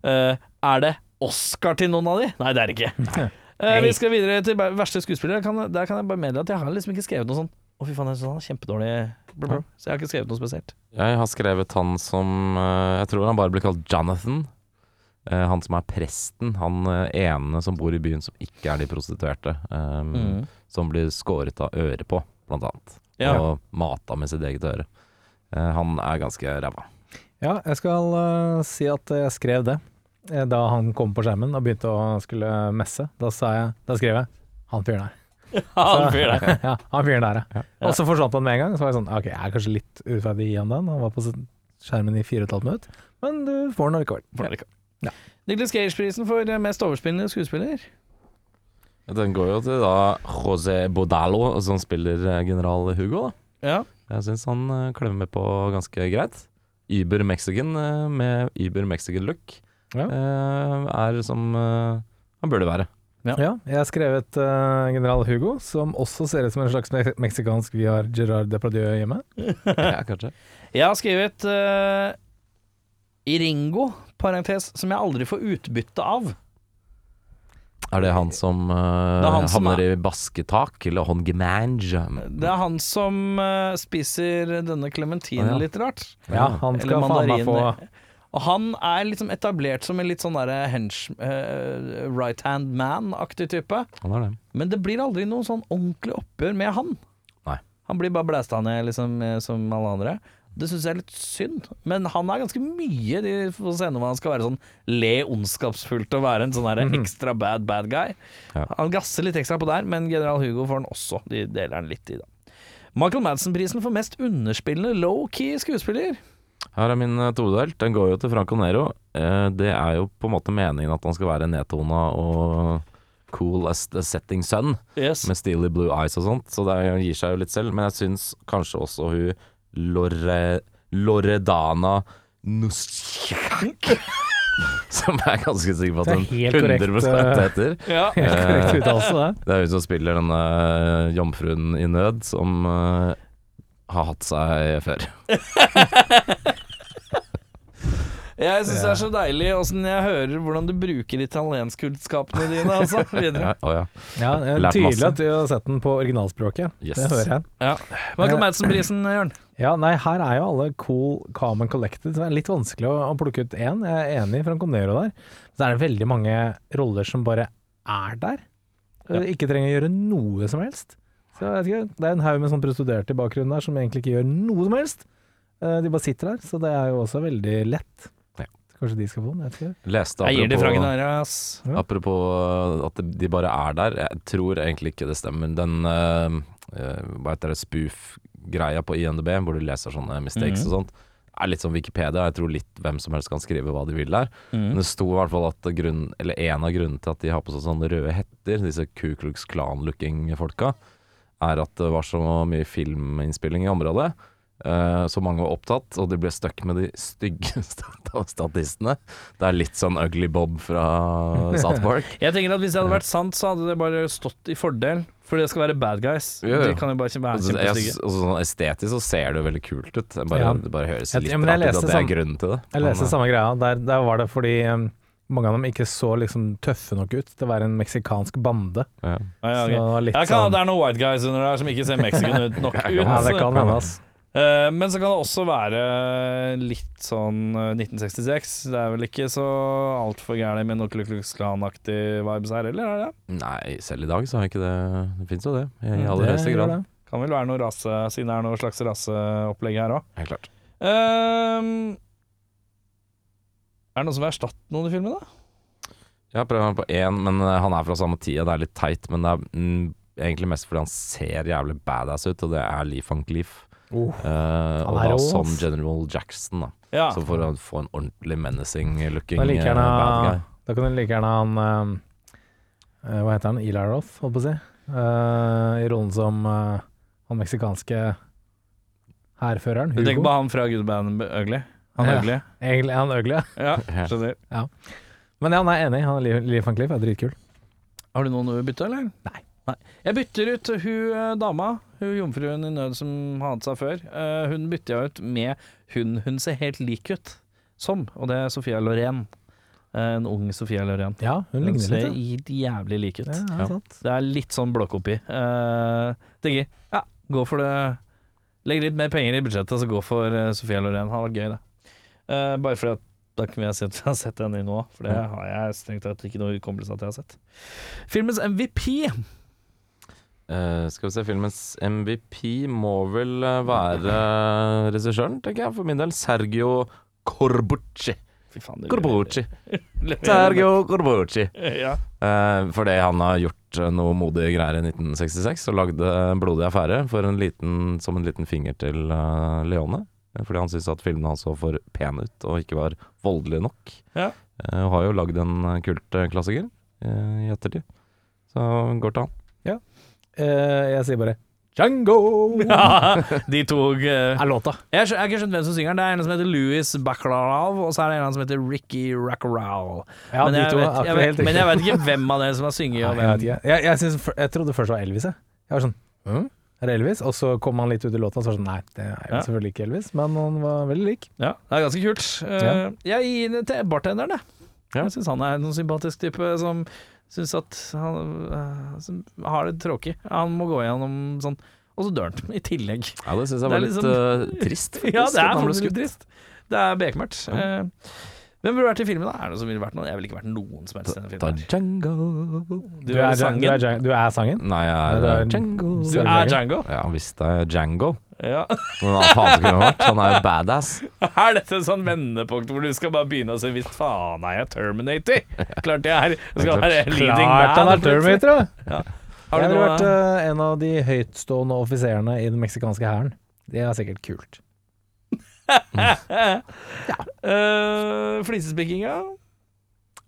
[SPEAKER 6] Eh, er det Oscar til noen av de? Nei, det er det ikke. Eh, vi skal videre til ba- verste skuespiller. Der kan, der kan jeg bare meddele at jeg har liksom ikke skrevet noe sånn Å, fy faen, jeg synes han er kjempedårlig. Blah, blah. Så jeg har ikke skrevet noe spesielt.
[SPEAKER 5] Jeg har skrevet han som eh, Jeg tror han bare blir kalt Jonathan. Eh, han som er presten. Han eh, ene som bor i byen som ikke er de prostituerte. eh, Som blir skåret av øret på, blant annet.
[SPEAKER 6] Mm. Ja.
[SPEAKER 5] Og mata med sitt eget øre. Eh, han er ganske ræva.
[SPEAKER 4] Ja, jeg skal eh, si at jeg skrev det eh, da han kom på skjermen og begynte å skulle messe. Da, sa jeg, da skrev jeg 'han fyren der'.
[SPEAKER 6] Han fyr der.
[SPEAKER 4] ja, han fyren der, ja. Og så forsvant han med en gang. Så var jeg sånn OK, jeg er kanskje litt urettferdig i han den. Han var på skjermen i fire og et halvt minutt, men du får den allikevel.
[SPEAKER 6] Nicholas Gage-prisen for eh, mest overspillende skuespiller.
[SPEAKER 5] Den går jo til da José Bodalo, som spiller eh, general Hugo. da
[SPEAKER 6] Ja.
[SPEAKER 5] Jeg syns han eh, klemmer på ganske greit. Uber Mexican eh, med Uber Mexican look
[SPEAKER 4] Ja.
[SPEAKER 5] eh, er som eh, han burde være.
[SPEAKER 4] Ja, jeg har skrevet eh, General Hugo, som også ser ut som en slags me meksikansk vi har Gerard Depardieu hjemme.
[SPEAKER 5] Ja, kanskje.
[SPEAKER 6] Jeg har skrevet eh, Ringo, parentes, som jeg aldri får utbytte av.
[SPEAKER 5] Er det han som eh,
[SPEAKER 6] er han som
[SPEAKER 5] havner i basketak, eller han gemange?
[SPEAKER 6] Det er han som eh, spiser denne klementinen
[SPEAKER 5] Å, ja.
[SPEAKER 6] litt rart.
[SPEAKER 4] Ja, han
[SPEAKER 6] Eller
[SPEAKER 4] skal faen meg få
[SPEAKER 6] mandarin. Og han er liksom etablert som en litt sånn derre hench... eh, right hand man-aktig type.
[SPEAKER 5] Han er det.
[SPEAKER 6] Men det blir aldri noe sånn ordentlig oppgjør med han.
[SPEAKER 5] Nei.
[SPEAKER 6] Han blir bare blæsta ned, liksom, eh, som alle andre. Det syns jeg er litt synd, men han er ganske mye de får se når han skal være sånn le ondskapsfullt og være en sånn der ekstra bad bad guy.
[SPEAKER 5] Mhm. Ja.
[SPEAKER 6] Han gasser litt ekstra på der, men general Hugo får han også. De deler han litt i, da. Michael Madsen-prisen for mest underspillende low-key skuespiller.
[SPEAKER 5] Her er min eh, todelt. Den går jo til Franco Nero. Eh, det er jo på en måte meningen at han skal være nedtona og cool as the setting sun,
[SPEAKER 6] Yes.
[SPEAKER 5] med steely blue eyes og sånt, så det er- han gir seg jo litt selv. Men jeg syns kanskje også hun Lore, Loredana Nusjak Som jeg er ganske sikker på at
[SPEAKER 4] Det er
[SPEAKER 5] hun
[SPEAKER 4] helt korrekt,
[SPEAKER 5] 100
[SPEAKER 4] eh,
[SPEAKER 5] heter. Eh,
[SPEAKER 6] Ja.
[SPEAKER 4] Helt korrekt uttalelse, det.
[SPEAKER 5] Det er hun som spiller denne eh, jomfruen i nød, som eh, har hatt seg før.
[SPEAKER 6] Jeg syns det er så deilig åssen jeg hører hvordan du bruker italienskkunnskapene dine, altså.
[SPEAKER 5] Ja,
[SPEAKER 6] Videre.
[SPEAKER 5] å ja.
[SPEAKER 4] Ja, det er
[SPEAKER 5] Lært
[SPEAKER 4] tydelig
[SPEAKER 5] masse.
[SPEAKER 4] at du har sett den på originalspråket.
[SPEAKER 5] Yes.
[SPEAKER 4] Det hører jeg.
[SPEAKER 6] Michael Madsen-prisen, Jørn.
[SPEAKER 4] Ja, nei, her er jo alle cool, calm and collected, så det er litt vanskelig å, å plukke ut én. Jeg er enig i Franco Nero der. Så er det veldig mange roller som bare er der. Eh, Ikke trenger å gjøre noe som helst. Så jeg vet ikke, Det er en haug med sånn prostituerte i bakgrunnen der som egentlig ikke gjør noe som helst. Eh, De bare sitter der, så det er jo også veldig lett.
[SPEAKER 5] Ja.
[SPEAKER 4] Kanskje de skal få den, jeg vet ikke.
[SPEAKER 5] Leste
[SPEAKER 6] Jeg gir de
[SPEAKER 5] apropos-
[SPEAKER 6] Franken Arias.
[SPEAKER 4] Ja.
[SPEAKER 5] Apropos eh, at de bare er der, jeg tror egentlig ikke det stemmer. Den eh, eh, hva heter det, spoof-greia på INDB, hvor du leser sånne mistakes og sånt, er litt som Wikipedia. Jeg tror litt hvem som helst kan skrive hva de vil der.
[SPEAKER 6] Mm.
[SPEAKER 5] Men det sto i hvert fall at grunn, eller en av grunnene til at de har på seg sånne røde hetter, disse Ku Klux Klan-looking folka, er at det var så mye filminnspilling i området. eh, så mange var opptatt, og de ble stuck med de styggeste av statistene. Det er litt sånn Ugly Bob fra South Park.
[SPEAKER 6] Jeg tenker at Hvis det hadde vært sant, så hadde det bare stått i fordel. For det skal være bad guys.
[SPEAKER 5] Ja, ja.
[SPEAKER 6] De kan jo bare ikke være
[SPEAKER 5] Altså, jeg,
[SPEAKER 6] kjempestygge.
[SPEAKER 5] altså, sånn estetisk så ser det jo veldig kult ut. Jeg Bare,
[SPEAKER 4] Ja.
[SPEAKER 5] Det bare høres
[SPEAKER 4] Jeg-
[SPEAKER 5] litt
[SPEAKER 4] ja, men
[SPEAKER 5] rart ut
[SPEAKER 4] jeg
[SPEAKER 5] at
[SPEAKER 4] leste
[SPEAKER 5] det er
[SPEAKER 4] sam-
[SPEAKER 5] grunnen til det.
[SPEAKER 4] Jeg
[SPEAKER 5] Men,
[SPEAKER 4] leste samme greia. Der, der var det fordi eh, mange av dem ikke så liksom tøffe nok ut til å være en meksikansk bande.
[SPEAKER 5] ja.
[SPEAKER 6] Ja, ja,
[SPEAKER 4] Så
[SPEAKER 6] ok.
[SPEAKER 4] det var litt
[SPEAKER 6] Jeg kan,
[SPEAKER 4] sånn
[SPEAKER 6] det er noen white guys under der som ikke ser mexican ut nok ut.
[SPEAKER 4] Ja, det
[SPEAKER 6] så-
[SPEAKER 4] kan hende, ass.
[SPEAKER 6] Eh, men så kan det også være litt sånn eh, 1966. Det er vel ikke så altfor gærent med noe Klu Klux Klan-aktig vibes her heller, er det?
[SPEAKER 5] Nei, selv i dag så har jeg ikke det. Det fins jo det, i
[SPEAKER 4] Ja,
[SPEAKER 5] aller
[SPEAKER 4] det
[SPEAKER 5] høyeste
[SPEAKER 4] gjør
[SPEAKER 5] grad.
[SPEAKER 4] det.
[SPEAKER 6] Kan vel være noe rase, siden det er noe slags raseopplegg her òg.
[SPEAKER 5] Helt klart.
[SPEAKER 6] er det noen som har erstattet noen i filmen, da?
[SPEAKER 5] Jeg har prøvd meg på én, men eh, han er fra samme tida. Det er litt teit, men det er mm, egentlig mest fordi han ser jævlig badass ut, og det er Lee Funk Leaf.
[SPEAKER 4] Oh.
[SPEAKER 5] Eh, og da
[SPEAKER 4] er rå,
[SPEAKER 5] som
[SPEAKER 4] ass.
[SPEAKER 5] General Jackson, da.
[SPEAKER 6] Ja.
[SPEAKER 5] Så for å få en ordentlig menacing looking
[SPEAKER 4] Da liker
[SPEAKER 5] eh,
[SPEAKER 4] han
[SPEAKER 5] bad guy.
[SPEAKER 4] å- Da kan du like gjerne ha han eh, eh, Hva heter han? Eli Roth, holdt på å si. Eh, I rollen som eh, han meksikanske hærføreren.
[SPEAKER 6] Du tenker på
[SPEAKER 4] Hugo.
[SPEAKER 6] han fra Good Band Ugly? Han
[SPEAKER 4] Ja.
[SPEAKER 6] Ugly?
[SPEAKER 4] Egentlig er han øgle.
[SPEAKER 6] Ja,
[SPEAKER 5] Ja.
[SPEAKER 6] skjønner.
[SPEAKER 4] Men ja, han er enig. Han er Liv, Liv van Cliff er dritkul.
[SPEAKER 6] Har du noen du vil bytte, eller? Nei. Jeg bytter ut hun eh, dama, hun jomfruen i nød som hadde seg før. Eh, hun bytter jeg ut med hun hun ser helt lik ut som, og det er Sofia Loren. Eh, en ung Sofia Loren.
[SPEAKER 4] Ja, hun
[SPEAKER 6] Hun
[SPEAKER 4] ligner
[SPEAKER 6] ser
[SPEAKER 4] litt.
[SPEAKER 6] litt, jævlig lik ut.
[SPEAKER 4] Ja, ja,
[SPEAKER 5] Ja.
[SPEAKER 4] sant.
[SPEAKER 6] Det er litt sånn blåkopi. Eh, tenker jeg, ja, gå for det Legg litt mer penger i budsjettet, så gå for eh, Sofia Loren. Det hadde vært gøy, det. Eh, bare fordi at da kan vi ha sett, ha sett den i nå, for det har jeg strengt tatt ikke noe hukommelse at jeg har sett. Filmens MVP
[SPEAKER 5] Eh, skal vi se, filmens MVP må vel eh, være eh, regissøren, tenker jeg. For min del Sergio Corbucci.
[SPEAKER 6] Fy faen,
[SPEAKER 5] Corbucci. Sergio Corbucci.
[SPEAKER 6] Ja.
[SPEAKER 5] Eh, fordi han har gjort eh, noe modige greier i 1966 og lagde en blodig affære for en liten, som en liten finger til eh, Leone. Eh, Fordi han syntes at filmene hans så for pene ut og ikke var voldelige nok.
[SPEAKER 6] Ja.
[SPEAKER 5] Eh, og har jo lagd en eh, kult eh, klassiker eh, i ettertid. Så går til han.
[SPEAKER 4] Eh, jeg sier bare Django!
[SPEAKER 6] De tok eh,
[SPEAKER 4] er låta.
[SPEAKER 6] Jeg skjø- jeg har ikke skjønt hvem som synger den. Det er en som heter Louis Bacalov, og så er det en annen som heter Ricky Rackarow.
[SPEAKER 4] Ja,
[SPEAKER 6] men,
[SPEAKER 4] de
[SPEAKER 6] jeg
[SPEAKER 4] to
[SPEAKER 6] vet,
[SPEAKER 4] er
[SPEAKER 6] jeg
[SPEAKER 4] helt
[SPEAKER 6] vet,
[SPEAKER 4] riktig.
[SPEAKER 6] men jeg vet ikke hvem av dere som har sunget.
[SPEAKER 4] Nei,
[SPEAKER 6] og
[SPEAKER 4] jeg, vet
[SPEAKER 6] hvem-
[SPEAKER 4] ikke. jeg, jeg, synes, jeg trodde først det var Elvis, jeg. Jeg var sånn «Hm? Er det Elvis? Og så kom han litt ut i låta, og så var jeg sånn Nei, det er jo
[SPEAKER 6] Ja.
[SPEAKER 4] selvfølgelig ikke Elvis, men han var veldig lik.
[SPEAKER 6] Ja, det er ganske kult. Eh, Jeg gir det til bartenderen, jeg.
[SPEAKER 5] Ja.
[SPEAKER 6] Jeg syns han er en sympatisk type som syns at han eh, som har det tråkig. Han må gå gjennom sånn, og så dør han i tillegg.
[SPEAKER 5] Ja, det syns jeg
[SPEAKER 6] Det er
[SPEAKER 5] var
[SPEAKER 6] litt
[SPEAKER 5] litt
[SPEAKER 6] sånn-
[SPEAKER 5] eh, trist, faktisk.
[SPEAKER 6] Ja,
[SPEAKER 5] at
[SPEAKER 6] det
[SPEAKER 5] han
[SPEAKER 6] er
[SPEAKER 5] ble
[SPEAKER 6] faktisk litt
[SPEAKER 5] skutt.
[SPEAKER 6] trist. Det er bekmørkt. Eh, Hvem burde vært i filmen, da? Er det noen som ville vært noen? Jeg ville ikke vært noen som helst i denne
[SPEAKER 5] Ta
[SPEAKER 6] filmen.
[SPEAKER 5] Django
[SPEAKER 6] Du
[SPEAKER 4] Du
[SPEAKER 6] er
[SPEAKER 4] er,
[SPEAKER 6] sangen. Mm.
[SPEAKER 4] Dja- du er sangen?
[SPEAKER 5] Nei, jeg
[SPEAKER 4] Det
[SPEAKER 5] er eh,
[SPEAKER 4] er
[SPEAKER 5] Django.
[SPEAKER 6] Du er Django.
[SPEAKER 5] Ja, visst er jeg Django.
[SPEAKER 6] Ja.
[SPEAKER 5] Men hva faen skulle han vært? Han er jo badass.
[SPEAKER 6] Er dette en sånn vendepunkt hvor du skal bare begynne å si Visst faen er jeg Terminator? Klart jeg er. Jeg skal være leading
[SPEAKER 4] Klart han
[SPEAKER 6] man,
[SPEAKER 4] er Terminator, da!
[SPEAKER 6] Har
[SPEAKER 4] Jeg
[SPEAKER 6] du
[SPEAKER 4] ville vært
[SPEAKER 6] noe
[SPEAKER 4] eh, en av de høytstående offiserene i den meksikanske hæren. Det er sikkert kult.
[SPEAKER 6] Eh, Flisespikkinga?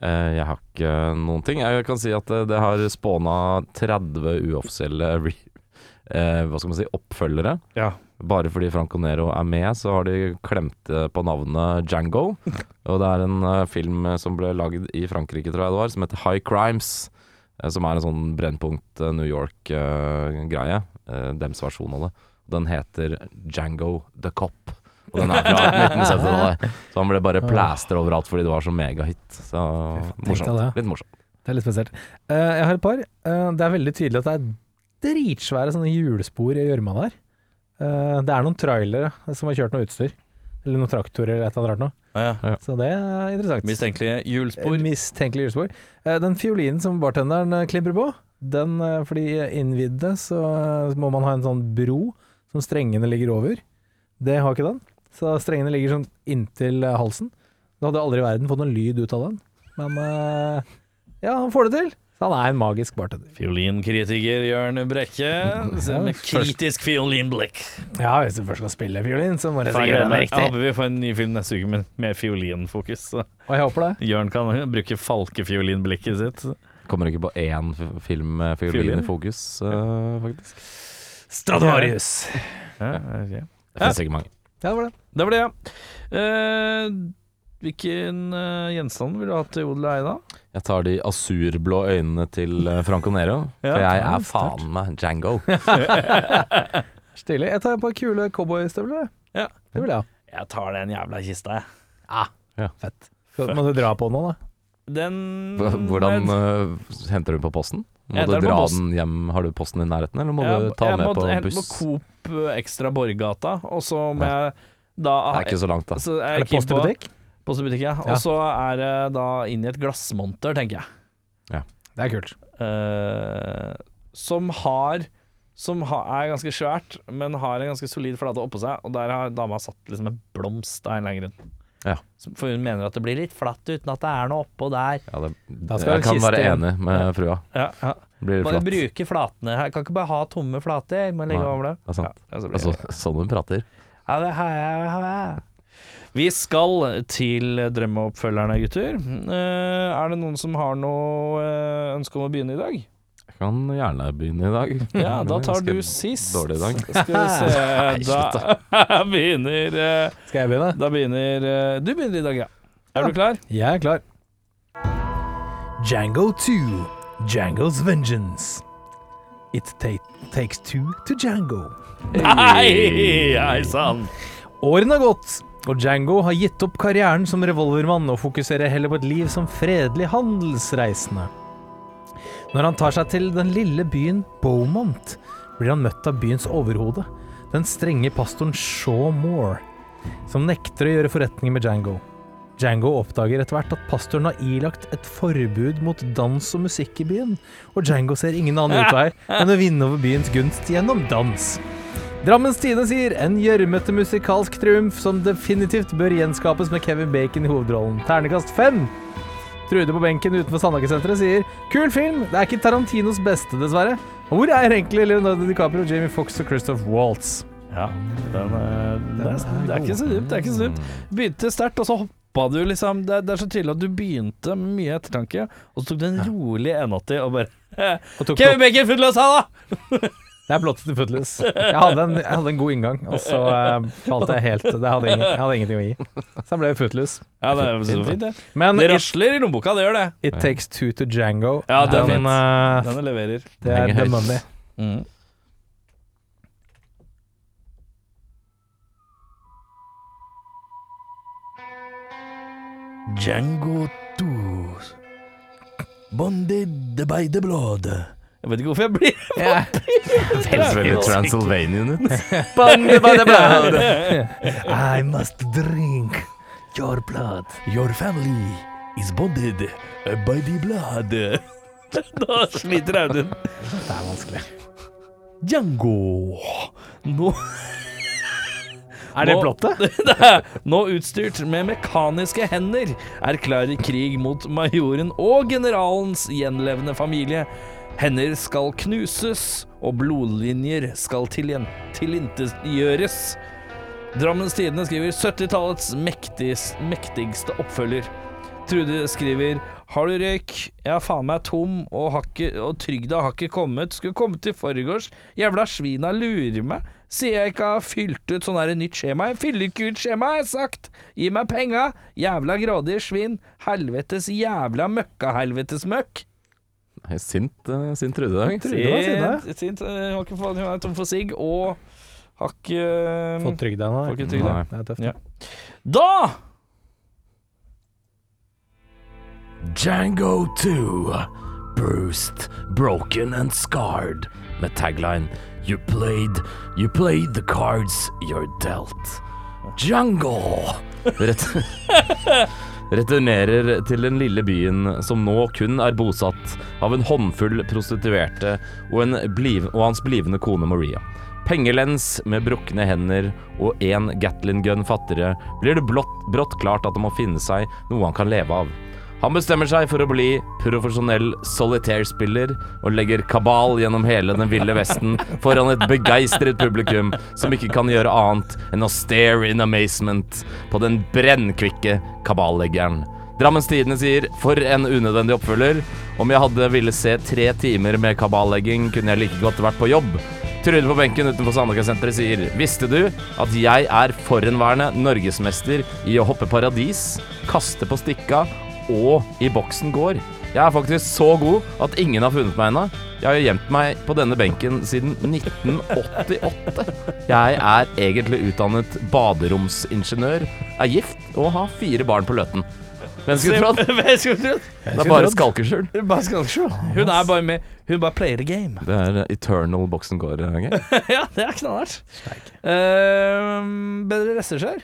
[SPEAKER 5] Eh, Jeg har ikke noen ting. Jeg kan si at eh, det har spåna 30 uoffisielle re eh, hva skal man si, oppfølgere.
[SPEAKER 6] Ja.
[SPEAKER 5] Bare fordi Franco Nero er med, så har de klemt eh, på navnet Django. Og det er en eh, film som ble lagd i Frankrike, tror jeg det var, som heter High Crimes. eh, Som er en sånn brennpunkt eh, New York-greie. Eh, dems versjon av det. Den heter Django the Cop. Og den er fra 1970-tallet. Så han ble bare plaster overalt fordi det var så megahit. Så
[SPEAKER 4] tenkte jeg det.
[SPEAKER 5] morsomt. Litt morsomt.
[SPEAKER 4] Det er litt spesielt. Eh, jeg har et par. Eh, det er veldig tydelig at det er dritsvære sånne hjulspor i gjørma der. Eh, det er noen trailere som har kjørt noe utstyr. Eller noen traktorer eller et eller annet rart noe. Så det er interessant.
[SPEAKER 6] Mistenkelige hjulspor.
[SPEAKER 4] Eh, Mistenkelig hjulspor. Eh, Den fiolinen som bartenderen eh, klipper på, den, eh, fordi innvidde så eh, må man ha en sånn bro som strengene ligger over. Det har ikke den. Så strengene ligger sånn inntil eh, halsen. Du hadde aldri i verden fått noen lyd ut av den. Men eh, ja, han får det til. Så han er en magisk bartender.
[SPEAKER 6] Fiolinkritiker Jørn Brekke. Med kritisk fiolinblikk.
[SPEAKER 4] Ja, hvis du først skal spille fiolin, så må du
[SPEAKER 6] Jeg
[SPEAKER 4] gjøre det
[SPEAKER 6] håper vi får en ny film neste uke med, med fiolinfokus. Så
[SPEAKER 4] Og jeg håper det.
[SPEAKER 6] Jørn kan bruke falkefiolinblikket sitt.
[SPEAKER 5] Kommer ikke på én f- film med
[SPEAKER 6] Fiolin?
[SPEAKER 5] fiolin i fokus, eh, faktisk.
[SPEAKER 4] Stradvarius.
[SPEAKER 6] Ja, ok.
[SPEAKER 5] Det finnes ikke mange.
[SPEAKER 4] Ja, det var det.
[SPEAKER 6] Det var det, ja. Eh, hvilken eh, gjenstand ville du hatt til odel og eie, da?
[SPEAKER 5] Jeg tar de asurblå øynene til eh, Franco Nero, for jeg
[SPEAKER 4] ja,
[SPEAKER 5] er faen meg Django.
[SPEAKER 4] Stilig. Jeg tar et par kule cowboystøvler. jeg.
[SPEAKER 6] Ja.
[SPEAKER 4] Det vil jeg ha.
[SPEAKER 6] Jeg tar den jævla kista, jeg.
[SPEAKER 4] Fett. Så må du dra på noe, da.
[SPEAKER 6] Den
[SPEAKER 5] Hva- Hvordan eh, henter du den på posten? Må
[SPEAKER 6] Jeg
[SPEAKER 5] du
[SPEAKER 6] tar den på
[SPEAKER 5] dra
[SPEAKER 6] posten.
[SPEAKER 5] den hjem? Har du posten i nærheten, eller må
[SPEAKER 6] Jeg-
[SPEAKER 5] du ta den
[SPEAKER 6] jeg
[SPEAKER 5] med
[SPEAKER 6] måtte
[SPEAKER 5] på
[SPEAKER 6] hente
[SPEAKER 5] buss?
[SPEAKER 6] på Coop eh, Extra Borggata, og så må
[SPEAKER 5] Ja.
[SPEAKER 6] jeg da
[SPEAKER 5] Det er ikke så langt, da.
[SPEAKER 6] så jeg
[SPEAKER 4] Er det
[SPEAKER 6] keen
[SPEAKER 4] post i
[SPEAKER 6] på-
[SPEAKER 4] butikk?
[SPEAKER 6] Post i butikk, ja.
[SPEAKER 4] Ja.
[SPEAKER 6] Og så er det da inn i et glassmonter, tenker jeg.
[SPEAKER 4] Det er kult.
[SPEAKER 6] Eh, som har Som ha, er ganske svært, men har en ganske solid flate oppå seg, og der har dama satt liksom en blomst av en eller annen grunn.
[SPEAKER 5] Ja.
[SPEAKER 6] Som- For hun mener at det blir litt flatt uten at det er noe oppå der.
[SPEAKER 5] Ja, det,
[SPEAKER 4] skal
[SPEAKER 5] jeg
[SPEAKER 4] den
[SPEAKER 5] kan være
[SPEAKER 4] kiste igjen.
[SPEAKER 5] enig med frua.
[SPEAKER 6] Ja, ja.
[SPEAKER 5] Det Blir
[SPEAKER 6] Bare
[SPEAKER 5] flatt. Det
[SPEAKER 6] bruke flatene. Jeg kan ikke bare ha tomme flater. Jeg Må legge
[SPEAKER 5] Nei,
[SPEAKER 6] over det.
[SPEAKER 5] er sant.
[SPEAKER 6] Ja, så blir
[SPEAKER 5] Altså,
[SPEAKER 6] det-
[SPEAKER 5] sånn hun prater.
[SPEAKER 6] Ja, det har jeg, har jeg. Vi skal til drømmeoppfølgerne, gutter. Eh, er det noen som har noe eh, ønske om å begynne i dag?
[SPEAKER 5] Jeg kan gjerne begynne i dag.
[SPEAKER 6] Ja, da tar
[SPEAKER 5] Ganske
[SPEAKER 6] du sist.
[SPEAKER 5] Dårlig i dag.
[SPEAKER 6] Skal vi se Da begynner eh,
[SPEAKER 4] Skal jeg begynne?
[SPEAKER 6] Da begynner eh, Du begynner i dag, ja. Er du klar?
[SPEAKER 4] Jeg er klar. Django 2. Django's Vengeance. It ta takes two to Django.
[SPEAKER 6] Nei! Hei sann!
[SPEAKER 4] Årene har gått, og Django har gitt opp karrieren som revolvermann og fokuserer heller på et liv som fredelig handelsreisende. Når han tar seg til den lille byen Beaumont, blir han møtt av byens overhode, den strenge pastoren Shaw Moore, som nekter å gjøre forretninger med Django. Django oppdager etter hvert at pastoren har ilagt et forbud mot dans og musikk i byen, og Django ser ingen annen utvei enn å vinne over byens gunst gjennom dans. Drammens Tine sier en gjørmete musikalsk triumf som definitivt bør gjenskapes med Kevin Bacon i hovedrollen. Ternekast fem. Trude på benken utenfor Sandhagesenteret sier kul film, det er ikke Tarantinos beste, dessverre. Hvor er egentlig Leonardo DiCaprio, Jamie Fox og Christoph Waltz?
[SPEAKER 6] Ja, den er, det, er, det er ikke så dypt. Det er ikke så dypt. Begynte sterkt, og så hoppa du liksom det, det er så tydelig at du begynte med mye ettertanke, og så tok du en rolig 180 og bare
[SPEAKER 4] Og tok
[SPEAKER 6] Kevin Bacon, full løs her, da!
[SPEAKER 4] Det er plottet til Footloose. Jeg hadde en, jeg hadde en god inngang, og så eh, falt jeg helt Det hadde ingen, jeg hadde ingenting å gi. Så jeg ble Footloose.
[SPEAKER 6] Ja, det er så fint, det.
[SPEAKER 4] Men
[SPEAKER 6] Det
[SPEAKER 4] it,
[SPEAKER 6] rasler i lommeboka, det gjør det.
[SPEAKER 4] it Takes Two to Django.
[SPEAKER 6] Ja, det er
[SPEAKER 4] den,
[SPEAKER 5] fint.
[SPEAKER 4] eh,
[SPEAKER 6] Denne leverer.
[SPEAKER 4] det
[SPEAKER 5] Henger
[SPEAKER 4] er The
[SPEAKER 5] høyt.
[SPEAKER 4] Money.
[SPEAKER 6] Django 2 Bonded by the blood Jeg vet ikke hvorfor jeg blir
[SPEAKER 5] Veldig Transylvanian ut.
[SPEAKER 6] I must drink your blood Your family is bonded uh, by the blood Da sliter jeg den
[SPEAKER 4] Det er vanskelig.
[SPEAKER 6] Django Nå
[SPEAKER 4] Er det
[SPEAKER 6] Nå-
[SPEAKER 4] plottet?
[SPEAKER 6] Det er nå utstyrt med mekaniske hender, erklærer krig mot majoren og generalens gjenlevende familie. Hender skal knuses, og blodlinjer skal tiljen- tilintetgjøres. Drammens Tidende skriver 70-tallets mektis- mektigste oppfølger. Trude skriver Har du røyk? Jeg er faen meg tom, og, har ikke- og trygda har ikke kommet. Skulle kommet i forgårs. Jævla svina lurer meg. Sier jeg ikke har fylt ut sånn her nytt skjema. Jeg fyller ikke ut skjema, har jeg sagt. Gi meg penga. Jævla grådige svin. Helvetes jævla møkkahelvetes møkk.
[SPEAKER 5] Nei, Sint, eh, sint Trude i dag.
[SPEAKER 4] Trude var sinna.
[SPEAKER 6] Sint, sint. Jeg har ikke faen, jeg er tom for sigg, og har ikke
[SPEAKER 4] Fått trygda nå?
[SPEAKER 6] Får ikke trygda.
[SPEAKER 4] Nei, Det er tøft.
[SPEAKER 6] Ja. Da
[SPEAKER 5] Django 2. Bruised, broken and scarred. Med tagline You played, you played the cards you're dealt. Django! Ret returnerer til den lille byen som nå kun er bosatt av en håndfull prostituerte og, en bliv og hans blivende kone Maria. Pengelens med brukne hender og én Gatlin gun fattigere blir det blått, brått klart at han må finne seg noe han kan leve av. Han bestemmer seg for å bli profesjonell solitaire-spiller og legger kabal gjennom hele den ville vesten foran et begeistret publikum som ikke kan gjøre annet enn å stare in amazement på den brennkvikke kaballeggeren. Drammens Tidende sier 'for en unødvendig oppfølger'. Om jeg hadde ville se tre timer med kaballegging, kunne jeg like godt vært på jobb. Trude på benken utenfor Sandvika-senteret sier Visste du at jeg er forhenværende norgesmester i å hoppe paradis, kaste på stikka og i boksen går? Jeg er faktisk så god at ingen har funnet meg ennå. Jeg har gjemt meg på denne benken siden 1988. Jeg er egentlig utdannet baderomsingeniør, er gift og har fire barn på løten. Hvem skulle trodd? Det er bare skalkeskjul.
[SPEAKER 6] Hun er bare med Hun bare player the game.
[SPEAKER 5] Det er eternal boksen eh, går-gøy.
[SPEAKER 6] ja, det er knallhardt. Uh, bedre regissør?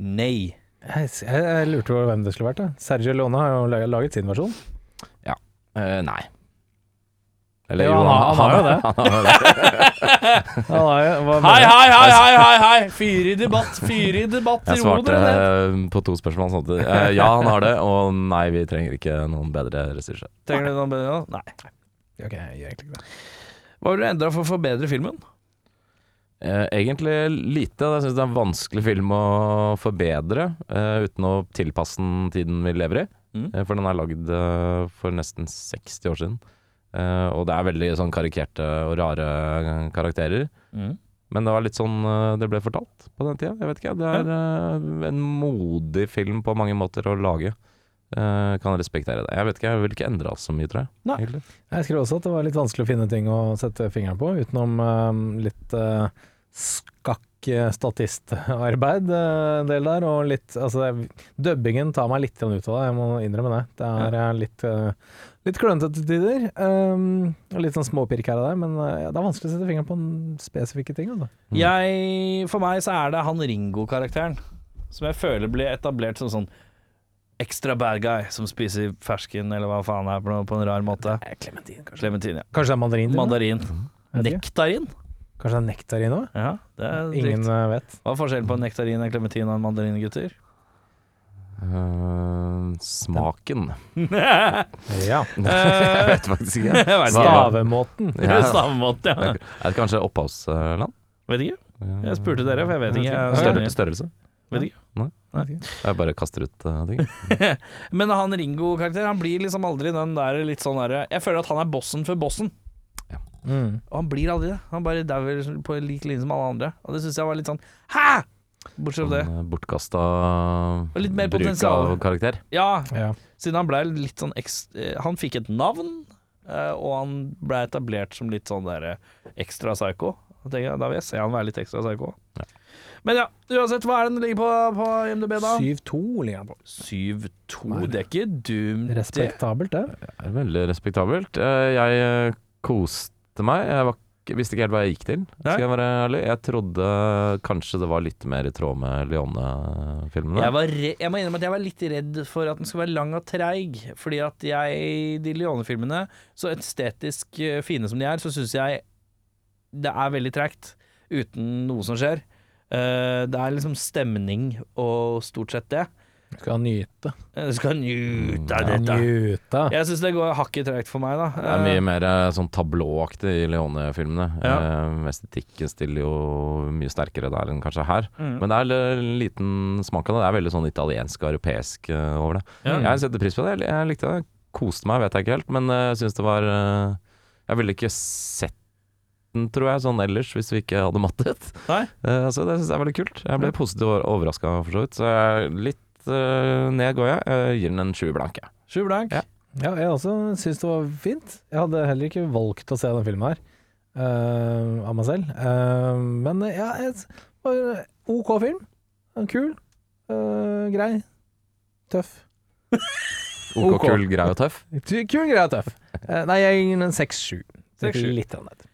[SPEAKER 6] Nei.
[SPEAKER 4] Jeg, jeg, jeg lurte på hvem det skulle vært. Da. Sergio Lone har jo la- laget sin versjon.
[SPEAKER 5] Eh, nei. Eller
[SPEAKER 4] Jo, han har- han har jo det.
[SPEAKER 5] han har
[SPEAKER 4] Han har jo- hva mener
[SPEAKER 6] Hei,
[SPEAKER 4] du?
[SPEAKER 6] hei, hei, hei, hei, hei! Fyr i debatt, fyr i debatt.
[SPEAKER 5] Jeg
[SPEAKER 6] ro
[SPEAKER 5] svarte
[SPEAKER 6] dere ned.
[SPEAKER 5] eh, på to spørsmål samtidig. Eh, Ja, han har det, og nei, vi trenger ikke noen bedre ressurser.
[SPEAKER 6] Trenger du noe bedre nå? Nei.
[SPEAKER 4] Ok, jeg gjør egentlig ikke det.
[SPEAKER 6] Hva har du endra for å forbedre filmen?
[SPEAKER 5] Eh, Egentlig lite. Jeg syns det er en vanskelig film å forbedre eh, uten å tilpasse den tiden vi lever i.
[SPEAKER 6] Mm.
[SPEAKER 5] Eh, For den er lagd eh, for nesten 60 år siden. Eh, Og det er veldig sånn karikerte og rare eh, karakterer.
[SPEAKER 6] Mm.
[SPEAKER 5] Men det var litt sånn eh, det ble fortalt på den tida. Jeg vet ikke, Det er eh, en modig film på mange måter å lage. Eh, Kan respektere det. Jeg vet ikke, jeg vil ikke endre alt så mye, tror jeg.
[SPEAKER 4] Nei.
[SPEAKER 5] egentlig.
[SPEAKER 4] Jeg skrev også at det var litt vanskelig å finne ting å sette fingeren på, utenom eh, litt eh, skakk eh, statistarbeid eh, en del der, og litt Altså, jeg, dubbingen tar meg litt grann ut av det, jeg må innrømme det. Det er eh, litt eh, Litt klønete til tider. eh, og litt sånn småpirk her og der, men eh, det er vanskelig å sette fingeren på en spesifikke ting. Altså.
[SPEAKER 6] Jeg, for meg så er det han Ringo-karakteren som jeg føler blir etablert som sånn ekstra bad guy som spiser fersken eller hva faen det er på, noe- på en rar måte. Clementine, kanskje. Clementine, ja.
[SPEAKER 4] Kanskje det er mandarin? til og med?
[SPEAKER 6] Mandarin.
[SPEAKER 4] Vet
[SPEAKER 6] Nektarin?
[SPEAKER 4] Kanskje det er nektarin òg?
[SPEAKER 6] Ja, det er
[SPEAKER 4] Ingen
[SPEAKER 6] Ingen...
[SPEAKER 4] eh, vet.
[SPEAKER 6] Hva er forskjellen på en nektarin, en klementin og en mandarin, gutter?
[SPEAKER 5] Eh, smaken
[SPEAKER 4] Ja.
[SPEAKER 5] Jeg vet faktisk ikke.
[SPEAKER 6] Eh, Jeg vet ikke.
[SPEAKER 4] Stavemåten.
[SPEAKER 6] Det er
[SPEAKER 5] Ja.
[SPEAKER 6] samme måte, ja.
[SPEAKER 5] Er det kanskje opphavsland?
[SPEAKER 6] Vet ikke. Jeg spurte dere, for jeg vet ikke. Jeg
[SPEAKER 5] Større,
[SPEAKER 6] er
[SPEAKER 5] størrelse?
[SPEAKER 6] Vet ikke.
[SPEAKER 5] Nei.
[SPEAKER 6] Nei.
[SPEAKER 5] Jeg bare kaster ut eh, ting.
[SPEAKER 6] enig. Men han Ringo-karakteren, han blir liksom aldri den der litt sånn derre Jeg føler at han er bossen for bossen.
[SPEAKER 5] Ja.
[SPEAKER 4] Mm.
[SPEAKER 6] Og han blir aldri det. Han bare dauer på lik linje som alle andre. Og det syns jeg var litt sånn Hæ?! Bortsett fra det.
[SPEAKER 5] Bortkasta
[SPEAKER 6] Og litt
[SPEAKER 5] Sånn, eh,
[SPEAKER 6] mer
[SPEAKER 5] bruk
[SPEAKER 6] potensial.
[SPEAKER 5] av karakter.
[SPEAKER 6] Ja,
[SPEAKER 4] Ja.
[SPEAKER 6] siden han ble litt sånn ekst, eh, Han fikk et navn, eh, og han ble etablert som litt sånn der eh, ekstra psycho. Da tenker jeg, Da vil jeg se han være litt ekstra psycho. Men ja, uansett, hva er det den ligger på på IMDb, da?
[SPEAKER 4] 7-2 ligger han på.
[SPEAKER 6] 7-2. Det er ikke dumt, det.
[SPEAKER 4] Respektabelt, det.
[SPEAKER 5] Det er veldig respektabelt. Eh, Jeg eh, koste meg. Jeg var, ikke- visste ikke helt hva jeg gikk til.
[SPEAKER 6] Nei.
[SPEAKER 5] Skal jeg være ærlig Jeg trodde kanskje det var litt mer i tråd med Leone-filmene.
[SPEAKER 6] Jeg, var re jeg må innrømme at jeg var litt redd for at den skulle være lang og treig. Fordi at jeg, i de Leone-filmene, så estetisk eh, fine som de er, så syns jeg det er veldig tregt uten noe som skjer. Eh, det er liksom stemning og stort sett det.
[SPEAKER 4] Skal nyte.
[SPEAKER 6] Eh, Du skal nyte av dette.
[SPEAKER 4] Nyte.
[SPEAKER 6] Jeg syns det går hakket tregt for meg, da.
[SPEAKER 5] Mm, Det er mye mer eh, sånn tablåaktig i Leone-filmene.
[SPEAKER 6] Ja.
[SPEAKER 5] Eh, estetikken stiller jo mye sterkere der enn kanskje her.
[SPEAKER 6] Mm.
[SPEAKER 5] Men det er en liten smak av det. Det er veldig sånn italiensk og europeisk eh, over det.
[SPEAKER 6] Ja.
[SPEAKER 5] Jeg setter pris på det. Jeg- Jeg likte det. Koste meg, vet jeg ikke helt. Men eh, jeg syns det var eh, Jeg ville ikke sett den, tror jeg, sånn ellers, hvis vi ikke hadde mattet.
[SPEAKER 6] Nei.
[SPEAKER 5] Eh, så det syns jeg er veldig kult. Jeg ble positivt overraska, for så vidt. Så jeg, litt eh, ned går jeg. Jeg gir den en sju blank, jeg.
[SPEAKER 6] Sju blank.
[SPEAKER 5] Ja.
[SPEAKER 4] Ja, jeg også syns det var fint. Jeg hadde heller ikke valgt å se den filmen her eh, av meg selv. Eh, men ja, jeg, det var en OK film. En Kul. eh, grei. Tøff.
[SPEAKER 5] OK,
[SPEAKER 4] Ok.
[SPEAKER 5] kul, grei og tøff.
[SPEAKER 4] Kul, grei og tøff. Eh, nei, jeg gir den en 6-7. Det er
[SPEAKER 6] 6-7.
[SPEAKER 4] Litt annet.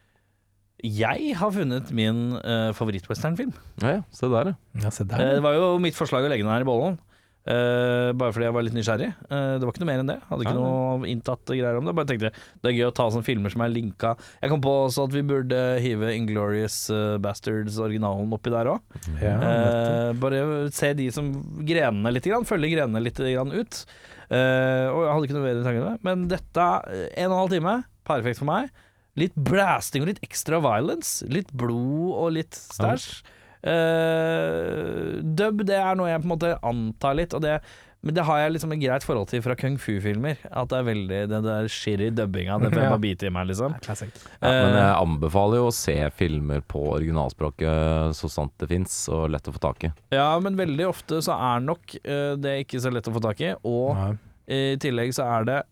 [SPEAKER 6] Jeg har funnet min uh, favoritt-westernfilm.
[SPEAKER 5] Ja, ja, se der, ja.
[SPEAKER 4] Ja, se
[SPEAKER 6] Eh,
[SPEAKER 4] der.
[SPEAKER 6] Det var jo mitt forslag å legge den her i bollen. eh, bare fordi jeg var litt nysgjerrig. Eh, det var ikke noe mer enn det. Hadde ikke
[SPEAKER 5] Ja,
[SPEAKER 6] noe inntatt greier om det. Bare tenkte det er gøy å ta sånne filmer som er linka. Jeg kom på også at vi burde hive Inglorious Bastards-originalen oppi der òg.
[SPEAKER 4] Ja, nettopp.
[SPEAKER 6] Eh, bare se de som grenene litt, grann, følge grenene litt grann ut. Eh, og jeg hadde ikke noe bedre tanke enn det. Men dette, eh, en og en halv time, perfekt for meg. Litt blasting og litt ekstra violence. Litt blod og litt stæsj. Eh, dub, det er noe jeg på en måte antar litt, og det men det har jeg liksom et greit forhold til fra kung fu-filmer. At det er veldig den der shitty dubbinga. Det får jeg
[SPEAKER 4] Ja.
[SPEAKER 6] bare bite i meg, liksom.
[SPEAKER 4] Classic.
[SPEAKER 5] Ja, men
[SPEAKER 6] Eh,
[SPEAKER 5] jeg anbefaler jo å se filmer på originalspråket så sant det fins, og lett å få tak i.
[SPEAKER 6] Ja, men veldig ofte så er nok eh, det ikke så lett å få tak i. Og
[SPEAKER 4] Nei.
[SPEAKER 6] I tillegg så er det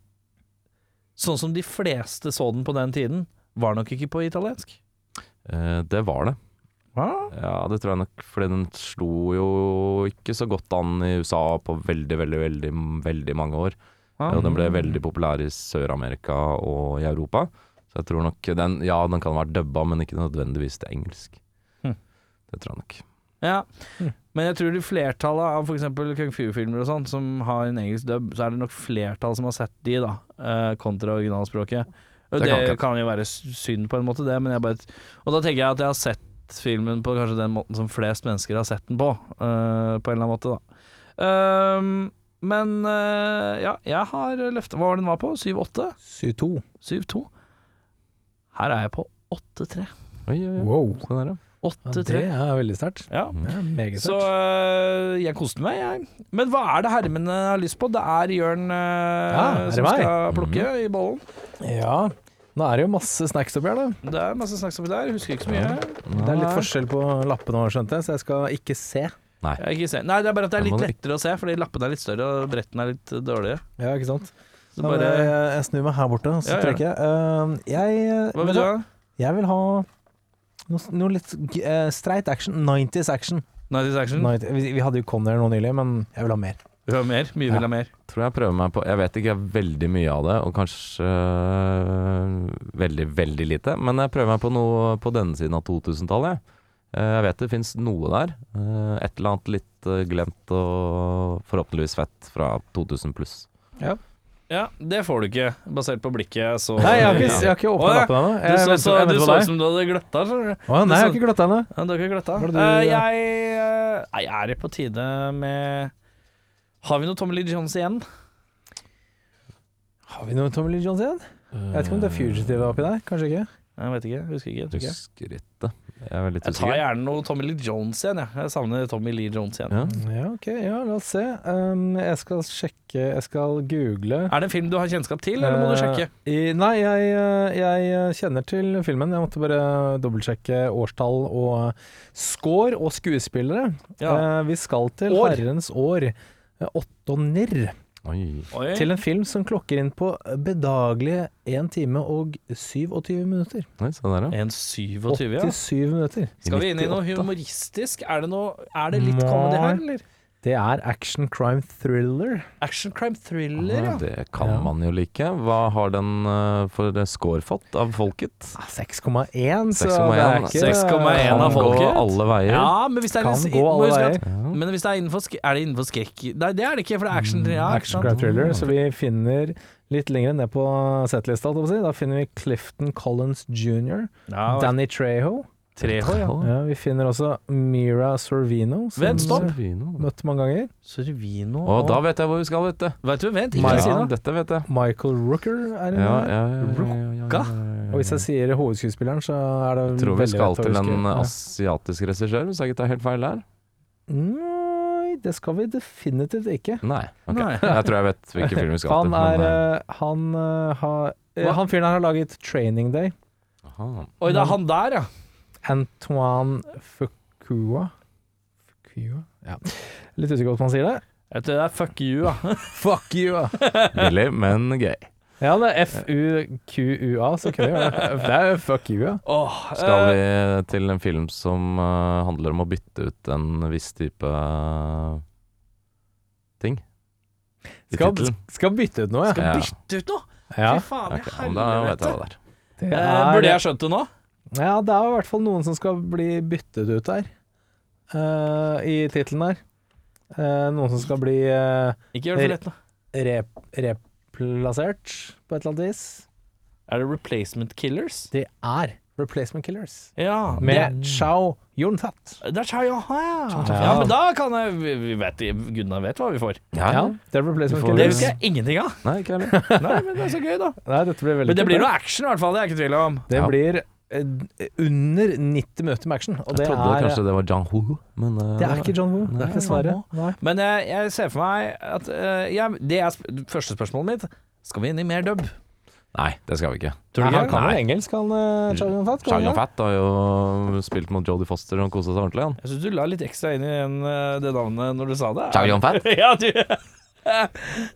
[SPEAKER 6] Sånn som de fleste så den på den tiden, var nok ikke på italiensk.
[SPEAKER 5] Eh, det var det.
[SPEAKER 6] Hva?
[SPEAKER 5] Ja, det tror jeg nok, fordi den slo jo ikke så godt an i USA på veldig, veldig, veldig, veldig mange år.
[SPEAKER 6] Ja.
[SPEAKER 4] Ah.
[SPEAKER 5] Og den ble veldig populær i Sør-Amerika og i Europa. Så jeg tror nok den Ja, den kan ha vært dubba, men ikke nødvendigvis til engelsk.
[SPEAKER 6] Hm.
[SPEAKER 5] Det tror jeg nok.
[SPEAKER 6] Ja. Men jeg tror de flertallet av f.eks. kung fu-filmer og sånn, som har en engelsk dub, så er det nok flertall som har sett de, da, eh, kontra originalspråket. Og
[SPEAKER 5] Det
[SPEAKER 6] det,
[SPEAKER 5] kan ikke.
[SPEAKER 6] kan jo være synd på en måte, det, men jeg bare Og da tenker jeg at jeg har sett filmen på kanskje den måten som flest mennesker har sett den på, eh, på en eller annen måte, da. Ehm, men eh, ja, jeg har løfta Hva var det den var på? 7-8?
[SPEAKER 4] 7-2.
[SPEAKER 6] 7-2. Her er jeg på 8-3.
[SPEAKER 5] Oi, oi, Sånn oi.
[SPEAKER 4] Wow.
[SPEAKER 5] Se der, ja.
[SPEAKER 4] Ja, det
[SPEAKER 6] 8-3.
[SPEAKER 4] er veldig sterkt.
[SPEAKER 6] Ja.
[SPEAKER 4] Ja, meget
[SPEAKER 6] Så
[SPEAKER 4] sterkt.
[SPEAKER 6] øh, jeg koste meg, jeg. Men hva er det hermene har lyst på? Det er Jørn øh,
[SPEAKER 4] Ja, er det
[SPEAKER 6] som
[SPEAKER 4] meg? Mhm.
[SPEAKER 6] skal plukke i bollen.
[SPEAKER 4] Ja. Nå er det jo masse snacks oppi her, da.
[SPEAKER 6] Det er masse snakk om det der. Husker ikke så mye.
[SPEAKER 4] Det er litt
[SPEAKER 5] Nei.
[SPEAKER 4] forskjell på lappene òg, skjønte jeg, så jeg skal ikke se.
[SPEAKER 6] Jeg har ikke sett- Nei, det er bare at det er
[SPEAKER 5] Jeg må
[SPEAKER 6] litt
[SPEAKER 5] da
[SPEAKER 6] lettere å se, fordi lappene er litt større og brettene er litt dårligere.
[SPEAKER 4] Ja, ikke sant?
[SPEAKER 6] Så
[SPEAKER 4] Da må
[SPEAKER 6] bare
[SPEAKER 4] jeg, jeg snur meg her borte, så
[SPEAKER 6] Ja, ja.
[SPEAKER 4] trekker jeg. Ehm, jeg
[SPEAKER 6] Hva vil du ha?
[SPEAKER 4] Jeg vil ha noe, s- noe litt g- eh, streit action. 90s action.
[SPEAKER 6] 90s Action?
[SPEAKER 4] 90, vi, vi hadde jo Conner nå nylig, men jeg vil ha mer.
[SPEAKER 6] Vil du ha mer? Mye vil ha mer.
[SPEAKER 5] Tror jeg prøver meg på Jeg vet ikke veldig mye av det, og kanskje øh, veldig, veldig lite. Men jeg prøver meg på noe på denne siden av 2000-tallet. jeg. Eh, Jeg vet det fins noe der. Eh, Et eller annet litt eh, glemt og forhåpentligvis fett fra 2000 pluss.
[SPEAKER 6] Ja, det får du ikke, basert på blikket jeg så.
[SPEAKER 4] Nei, jeg har ikke, jeg har ikke åpna
[SPEAKER 6] Å, ja.
[SPEAKER 4] lappen ennå.
[SPEAKER 6] Du
[SPEAKER 4] Jeg
[SPEAKER 6] så,
[SPEAKER 4] venter-
[SPEAKER 6] så,
[SPEAKER 4] jeg
[SPEAKER 6] du
[SPEAKER 4] venter på
[SPEAKER 6] så
[SPEAKER 4] deg.
[SPEAKER 6] ut som du hadde gløtta. skjønner du.
[SPEAKER 4] Å, nei,
[SPEAKER 6] du
[SPEAKER 4] jeg
[SPEAKER 6] så-
[SPEAKER 4] har ikke gløtta ennå.
[SPEAKER 6] Ja, du har ikke gløtta.
[SPEAKER 4] Hva er det du-
[SPEAKER 6] Eh, jeg eh, Nei, jeg er på tide med Har vi noe Tommy Lee Jones igjen?
[SPEAKER 4] Har vi noe Tommy Lee Jones igjen? Jeg vet ikke om det er fugitive oppi der. Kanskje ikke.
[SPEAKER 6] Jeg vet ikke, jeg husker ikke. Jeg, tror ikke. jeg.
[SPEAKER 5] Husker ikke. Jeg er veldig
[SPEAKER 6] jeg tar
[SPEAKER 5] usikker.
[SPEAKER 6] gjerne noe Tommy Lee Jones igjen, jeg. Jeg savner Tommy Lee Jones igjen.
[SPEAKER 5] Ja.
[SPEAKER 4] Ja, ok, ja, la oss se. Um, jeg skal sjekke, jeg skal google.
[SPEAKER 6] Er det en film du har kjennskap til, eller må du sjekke?
[SPEAKER 4] Eh, I, nei, jeg, eh, jeg kjenner til filmen. Jeg måtte bare dobbeltsjekke årstall og score og skuespillere.
[SPEAKER 6] Ja.
[SPEAKER 4] Eh, vi skal til
[SPEAKER 6] År.
[SPEAKER 4] herrens år. eh, Åttoner.
[SPEAKER 5] Oi.
[SPEAKER 6] Oi.
[SPEAKER 4] Til en film som klokker inn på bedagelige 1 time og 27 minutter.
[SPEAKER 5] Oi, se der, ja.
[SPEAKER 6] en 27, ja.
[SPEAKER 4] 87 minutter.
[SPEAKER 6] Skal vi inn i noe
[SPEAKER 5] 98, da.
[SPEAKER 6] humoristisk? Er det, noe, er det litt comedy her, eller?
[SPEAKER 4] Det er action crime thriller.
[SPEAKER 6] Action crime thriller,
[SPEAKER 5] Ja,
[SPEAKER 6] ja.
[SPEAKER 5] Ah, det kan
[SPEAKER 4] Ja.
[SPEAKER 5] man jo like. Hva har den eh, for score fått av folket?
[SPEAKER 4] Ah, 6,1, så det
[SPEAKER 5] 6,1.
[SPEAKER 4] er ikke
[SPEAKER 6] 6,1
[SPEAKER 5] Kan gå
[SPEAKER 6] av folket.
[SPEAKER 5] alle veier.
[SPEAKER 6] Ja, men hvis det er,
[SPEAKER 4] Kan
[SPEAKER 6] litt-
[SPEAKER 4] gå
[SPEAKER 6] må
[SPEAKER 4] alle
[SPEAKER 6] huske
[SPEAKER 4] veier. Mm,
[SPEAKER 6] at- Men hvis det er innenfor skrekk Er det innenfor skrekk? Nei, det er det ikke, for det er action. Ja, ikke
[SPEAKER 4] Action
[SPEAKER 6] sant?
[SPEAKER 4] crime thriller, så vi finner litt lenger ned på settlista, holdt jeg på å si. Da finner vi Clifton Collins jr.,
[SPEAKER 6] Ja,
[SPEAKER 4] Danny Treho.
[SPEAKER 6] Treho, ja.
[SPEAKER 4] Ja, vi finner også Mira Sorvino, som
[SPEAKER 6] Vent, stopp.
[SPEAKER 5] Servino.
[SPEAKER 4] møtte mange ganger.
[SPEAKER 6] Sorvino
[SPEAKER 5] Og da vet jeg hvor vi skal, vet du.
[SPEAKER 6] Vet du, vent, ikke
[SPEAKER 4] Mike.
[SPEAKER 6] si
[SPEAKER 5] Ja,
[SPEAKER 6] noe.
[SPEAKER 5] dette vet jeg.
[SPEAKER 4] Michael Rooker er en
[SPEAKER 5] Ja,
[SPEAKER 4] der.
[SPEAKER 5] ja, ja, ja, ja, ja,
[SPEAKER 4] Og
[SPEAKER 5] ja,
[SPEAKER 4] hvis
[SPEAKER 5] ja.
[SPEAKER 4] jeg sier hovedskuespilleren, så er det
[SPEAKER 5] Jeg tror vi
[SPEAKER 4] veldig
[SPEAKER 5] skal
[SPEAKER 4] lett å
[SPEAKER 5] til eh,
[SPEAKER 4] huske.
[SPEAKER 5] en
[SPEAKER 4] Ja.
[SPEAKER 5] asiatisk regissør, hvis jeg ikke tar helt feil der.
[SPEAKER 4] Nei, det skal vi definitivt ikke.
[SPEAKER 5] Nei. ok.
[SPEAKER 6] Nei.
[SPEAKER 5] Jeg tror jeg vet hvilken film vi skal
[SPEAKER 4] Han
[SPEAKER 5] til.
[SPEAKER 4] er
[SPEAKER 5] men, eh,
[SPEAKER 4] eh, Han eh, har eh, Han fyren her har laget 'Training Day'. eh,
[SPEAKER 5] aha.
[SPEAKER 6] Oi, det er han der, ja.
[SPEAKER 4] Antoine Fukua. Fukua? Ja. Litt usikker på hvordan man sier det.
[SPEAKER 6] Jeg tror det er fuck you, ja.
[SPEAKER 4] Fuck you!
[SPEAKER 5] Billig, men gøy.
[SPEAKER 4] Ja, det er F-U-Q-U-A, så kunne vi gjøre det. Det er jo fuck you, ja.
[SPEAKER 6] Åh, eh,
[SPEAKER 5] Skal vi til en film som eh, handler om å bytte ut en viss type eh, ting? I
[SPEAKER 4] Skal,
[SPEAKER 5] tittelen.
[SPEAKER 4] skal bytte ut noe, ja.
[SPEAKER 5] Ja.
[SPEAKER 6] bytte ut nå?
[SPEAKER 4] ja.
[SPEAKER 6] Fy faen,
[SPEAKER 5] Ok,
[SPEAKER 6] i
[SPEAKER 5] men da vet
[SPEAKER 6] helvete.
[SPEAKER 5] jeg hva det er.
[SPEAKER 4] Det
[SPEAKER 6] Eh,
[SPEAKER 4] er,
[SPEAKER 6] burde jeg skjønt det nå?
[SPEAKER 4] ja, det er i hvert fall noen som skal bli byttet ut der, eh, i tittelen her. Eh, noen som skal bli eh,
[SPEAKER 6] Ikke gjør det for lett nå.
[SPEAKER 4] rep replassert på et eller annet vis.
[SPEAKER 6] Er det Replacement Killers?
[SPEAKER 4] Det er Replacement Killers.
[SPEAKER 6] Ja.
[SPEAKER 4] Med Chao Yun-Tat.
[SPEAKER 6] Det er Chai Aha, ja.
[SPEAKER 4] Ja.
[SPEAKER 6] ja. Men da kan jeg vi- vi vet, Gunnar vet hva vi får.
[SPEAKER 5] Ja,
[SPEAKER 4] Ja, det er Replacement
[SPEAKER 5] Du får-
[SPEAKER 6] Det
[SPEAKER 4] Killers.
[SPEAKER 6] husker jeg ingenting av.
[SPEAKER 5] Nei, ikke heller.
[SPEAKER 6] Nei, men det er så gøy, da.
[SPEAKER 4] Nei, dette blir veldig
[SPEAKER 6] Men det
[SPEAKER 4] kult,
[SPEAKER 6] blir
[SPEAKER 4] da.
[SPEAKER 6] noe action, i hvert fall. Det er jeg ikke i tvil om.
[SPEAKER 4] Det
[SPEAKER 5] Ja.
[SPEAKER 4] blir eh, under 90 minutter med action, og
[SPEAKER 5] Jeg
[SPEAKER 4] det
[SPEAKER 5] trodde
[SPEAKER 4] er eh,
[SPEAKER 5] kanskje det var Jang Ho, men eh,
[SPEAKER 4] Det er ikke John Woo,
[SPEAKER 5] Nei.
[SPEAKER 4] dessverre. Nei.
[SPEAKER 6] Men jeg, jeg ser for meg at eh, jeg, Det er sp første spørsmålet mitt. Skal vi inn i mer dub?
[SPEAKER 5] Nei, det skal vi ikke.
[SPEAKER 4] Nei, han kan jo
[SPEAKER 5] Nei.
[SPEAKER 4] engelsk, han eh, Charlie Van Fatt. kan
[SPEAKER 5] Chang
[SPEAKER 4] han
[SPEAKER 5] og Fat har jo spilt mot Jodie Foster og kosa seg ordentlig, han.
[SPEAKER 6] Jeg syns du la litt ekstra inn i den, eh, det navnet når du sa det.
[SPEAKER 5] Chang og Fat?
[SPEAKER 6] ja, du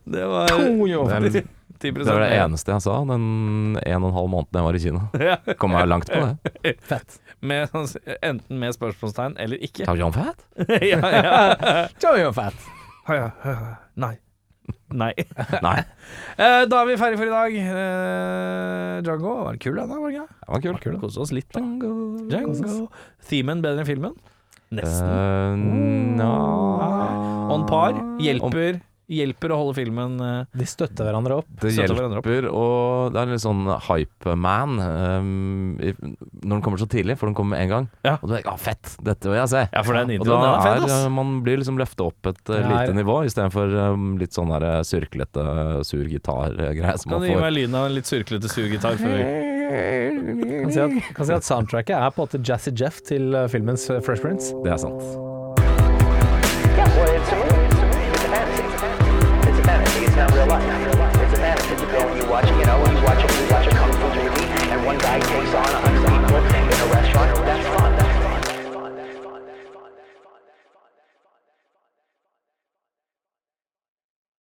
[SPEAKER 6] Det var
[SPEAKER 5] Det er-
[SPEAKER 6] 10
[SPEAKER 5] Det var det eneste jeg sa den en og en halv måneden jeg var i Kina.
[SPEAKER 6] Ja,
[SPEAKER 5] Kom meg langt på det.
[SPEAKER 6] med, sånn, enten med spørsmålstegn eller ikke.
[SPEAKER 5] Chang og Fat?
[SPEAKER 6] ja, ja.
[SPEAKER 4] gjøre? Charlie Van Fatt.
[SPEAKER 6] Nei. Nei.
[SPEAKER 5] Nei,
[SPEAKER 6] Eh, da er vi ferdig for i dag. Eh, Django var det kul, den da, var det ikke?
[SPEAKER 5] det var kult.
[SPEAKER 6] Kose oss litt, da. Django. Themen bedre enn filmen? Nesten.
[SPEAKER 5] Eh, nja.
[SPEAKER 6] On par. Hjelper, hjelper å holde filmen eh,
[SPEAKER 4] De støtter hverandre opp.
[SPEAKER 5] Det
[SPEAKER 6] Støtter hverandre opp.
[SPEAKER 5] hjelper, og det er litt sånn hype-man um, i- når den kommer så tidlig, for den kommer med en gang.
[SPEAKER 6] Ja.
[SPEAKER 5] Og du tenker 'ah, fett, dette vil jeg se'.
[SPEAKER 6] Ja, for den
[SPEAKER 5] og
[SPEAKER 6] introen
[SPEAKER 5] da
[SPEAKER 6] den er
[SPEAKER 5] er,
[SPEAKER 6] fett, ass.
[SPEAKER 5] man blir liksom løfta opp et eh,
[SPEAKER 4] Det er-
[SPEAKER 5] lite nivå, istedenfor um, litt sånn der eh, surklete, eh, sur gitar-greie som
[SPEAKER 6] Kan
[SPEAKER 5] man
[SPEAKER 6] du gi
[SPEAKER 5] får.
[SPEAKER 6] meg lyden av en litt surklete surgitar? før vi-
[SPEAKER 4] Kan si, at, kan si at soundtracket er på en måte Jazzy Jeff til eh, filmens eh, Fresh Prince.
[SPEAKER 5] Det er sant.
[SPEAKER 3] Guess what? It's a movie. It's a movie. It's a fantasy. It's a fantasy. It's not real life. It's a fantasy. You go and you watch, you know, and you watch a, you watch a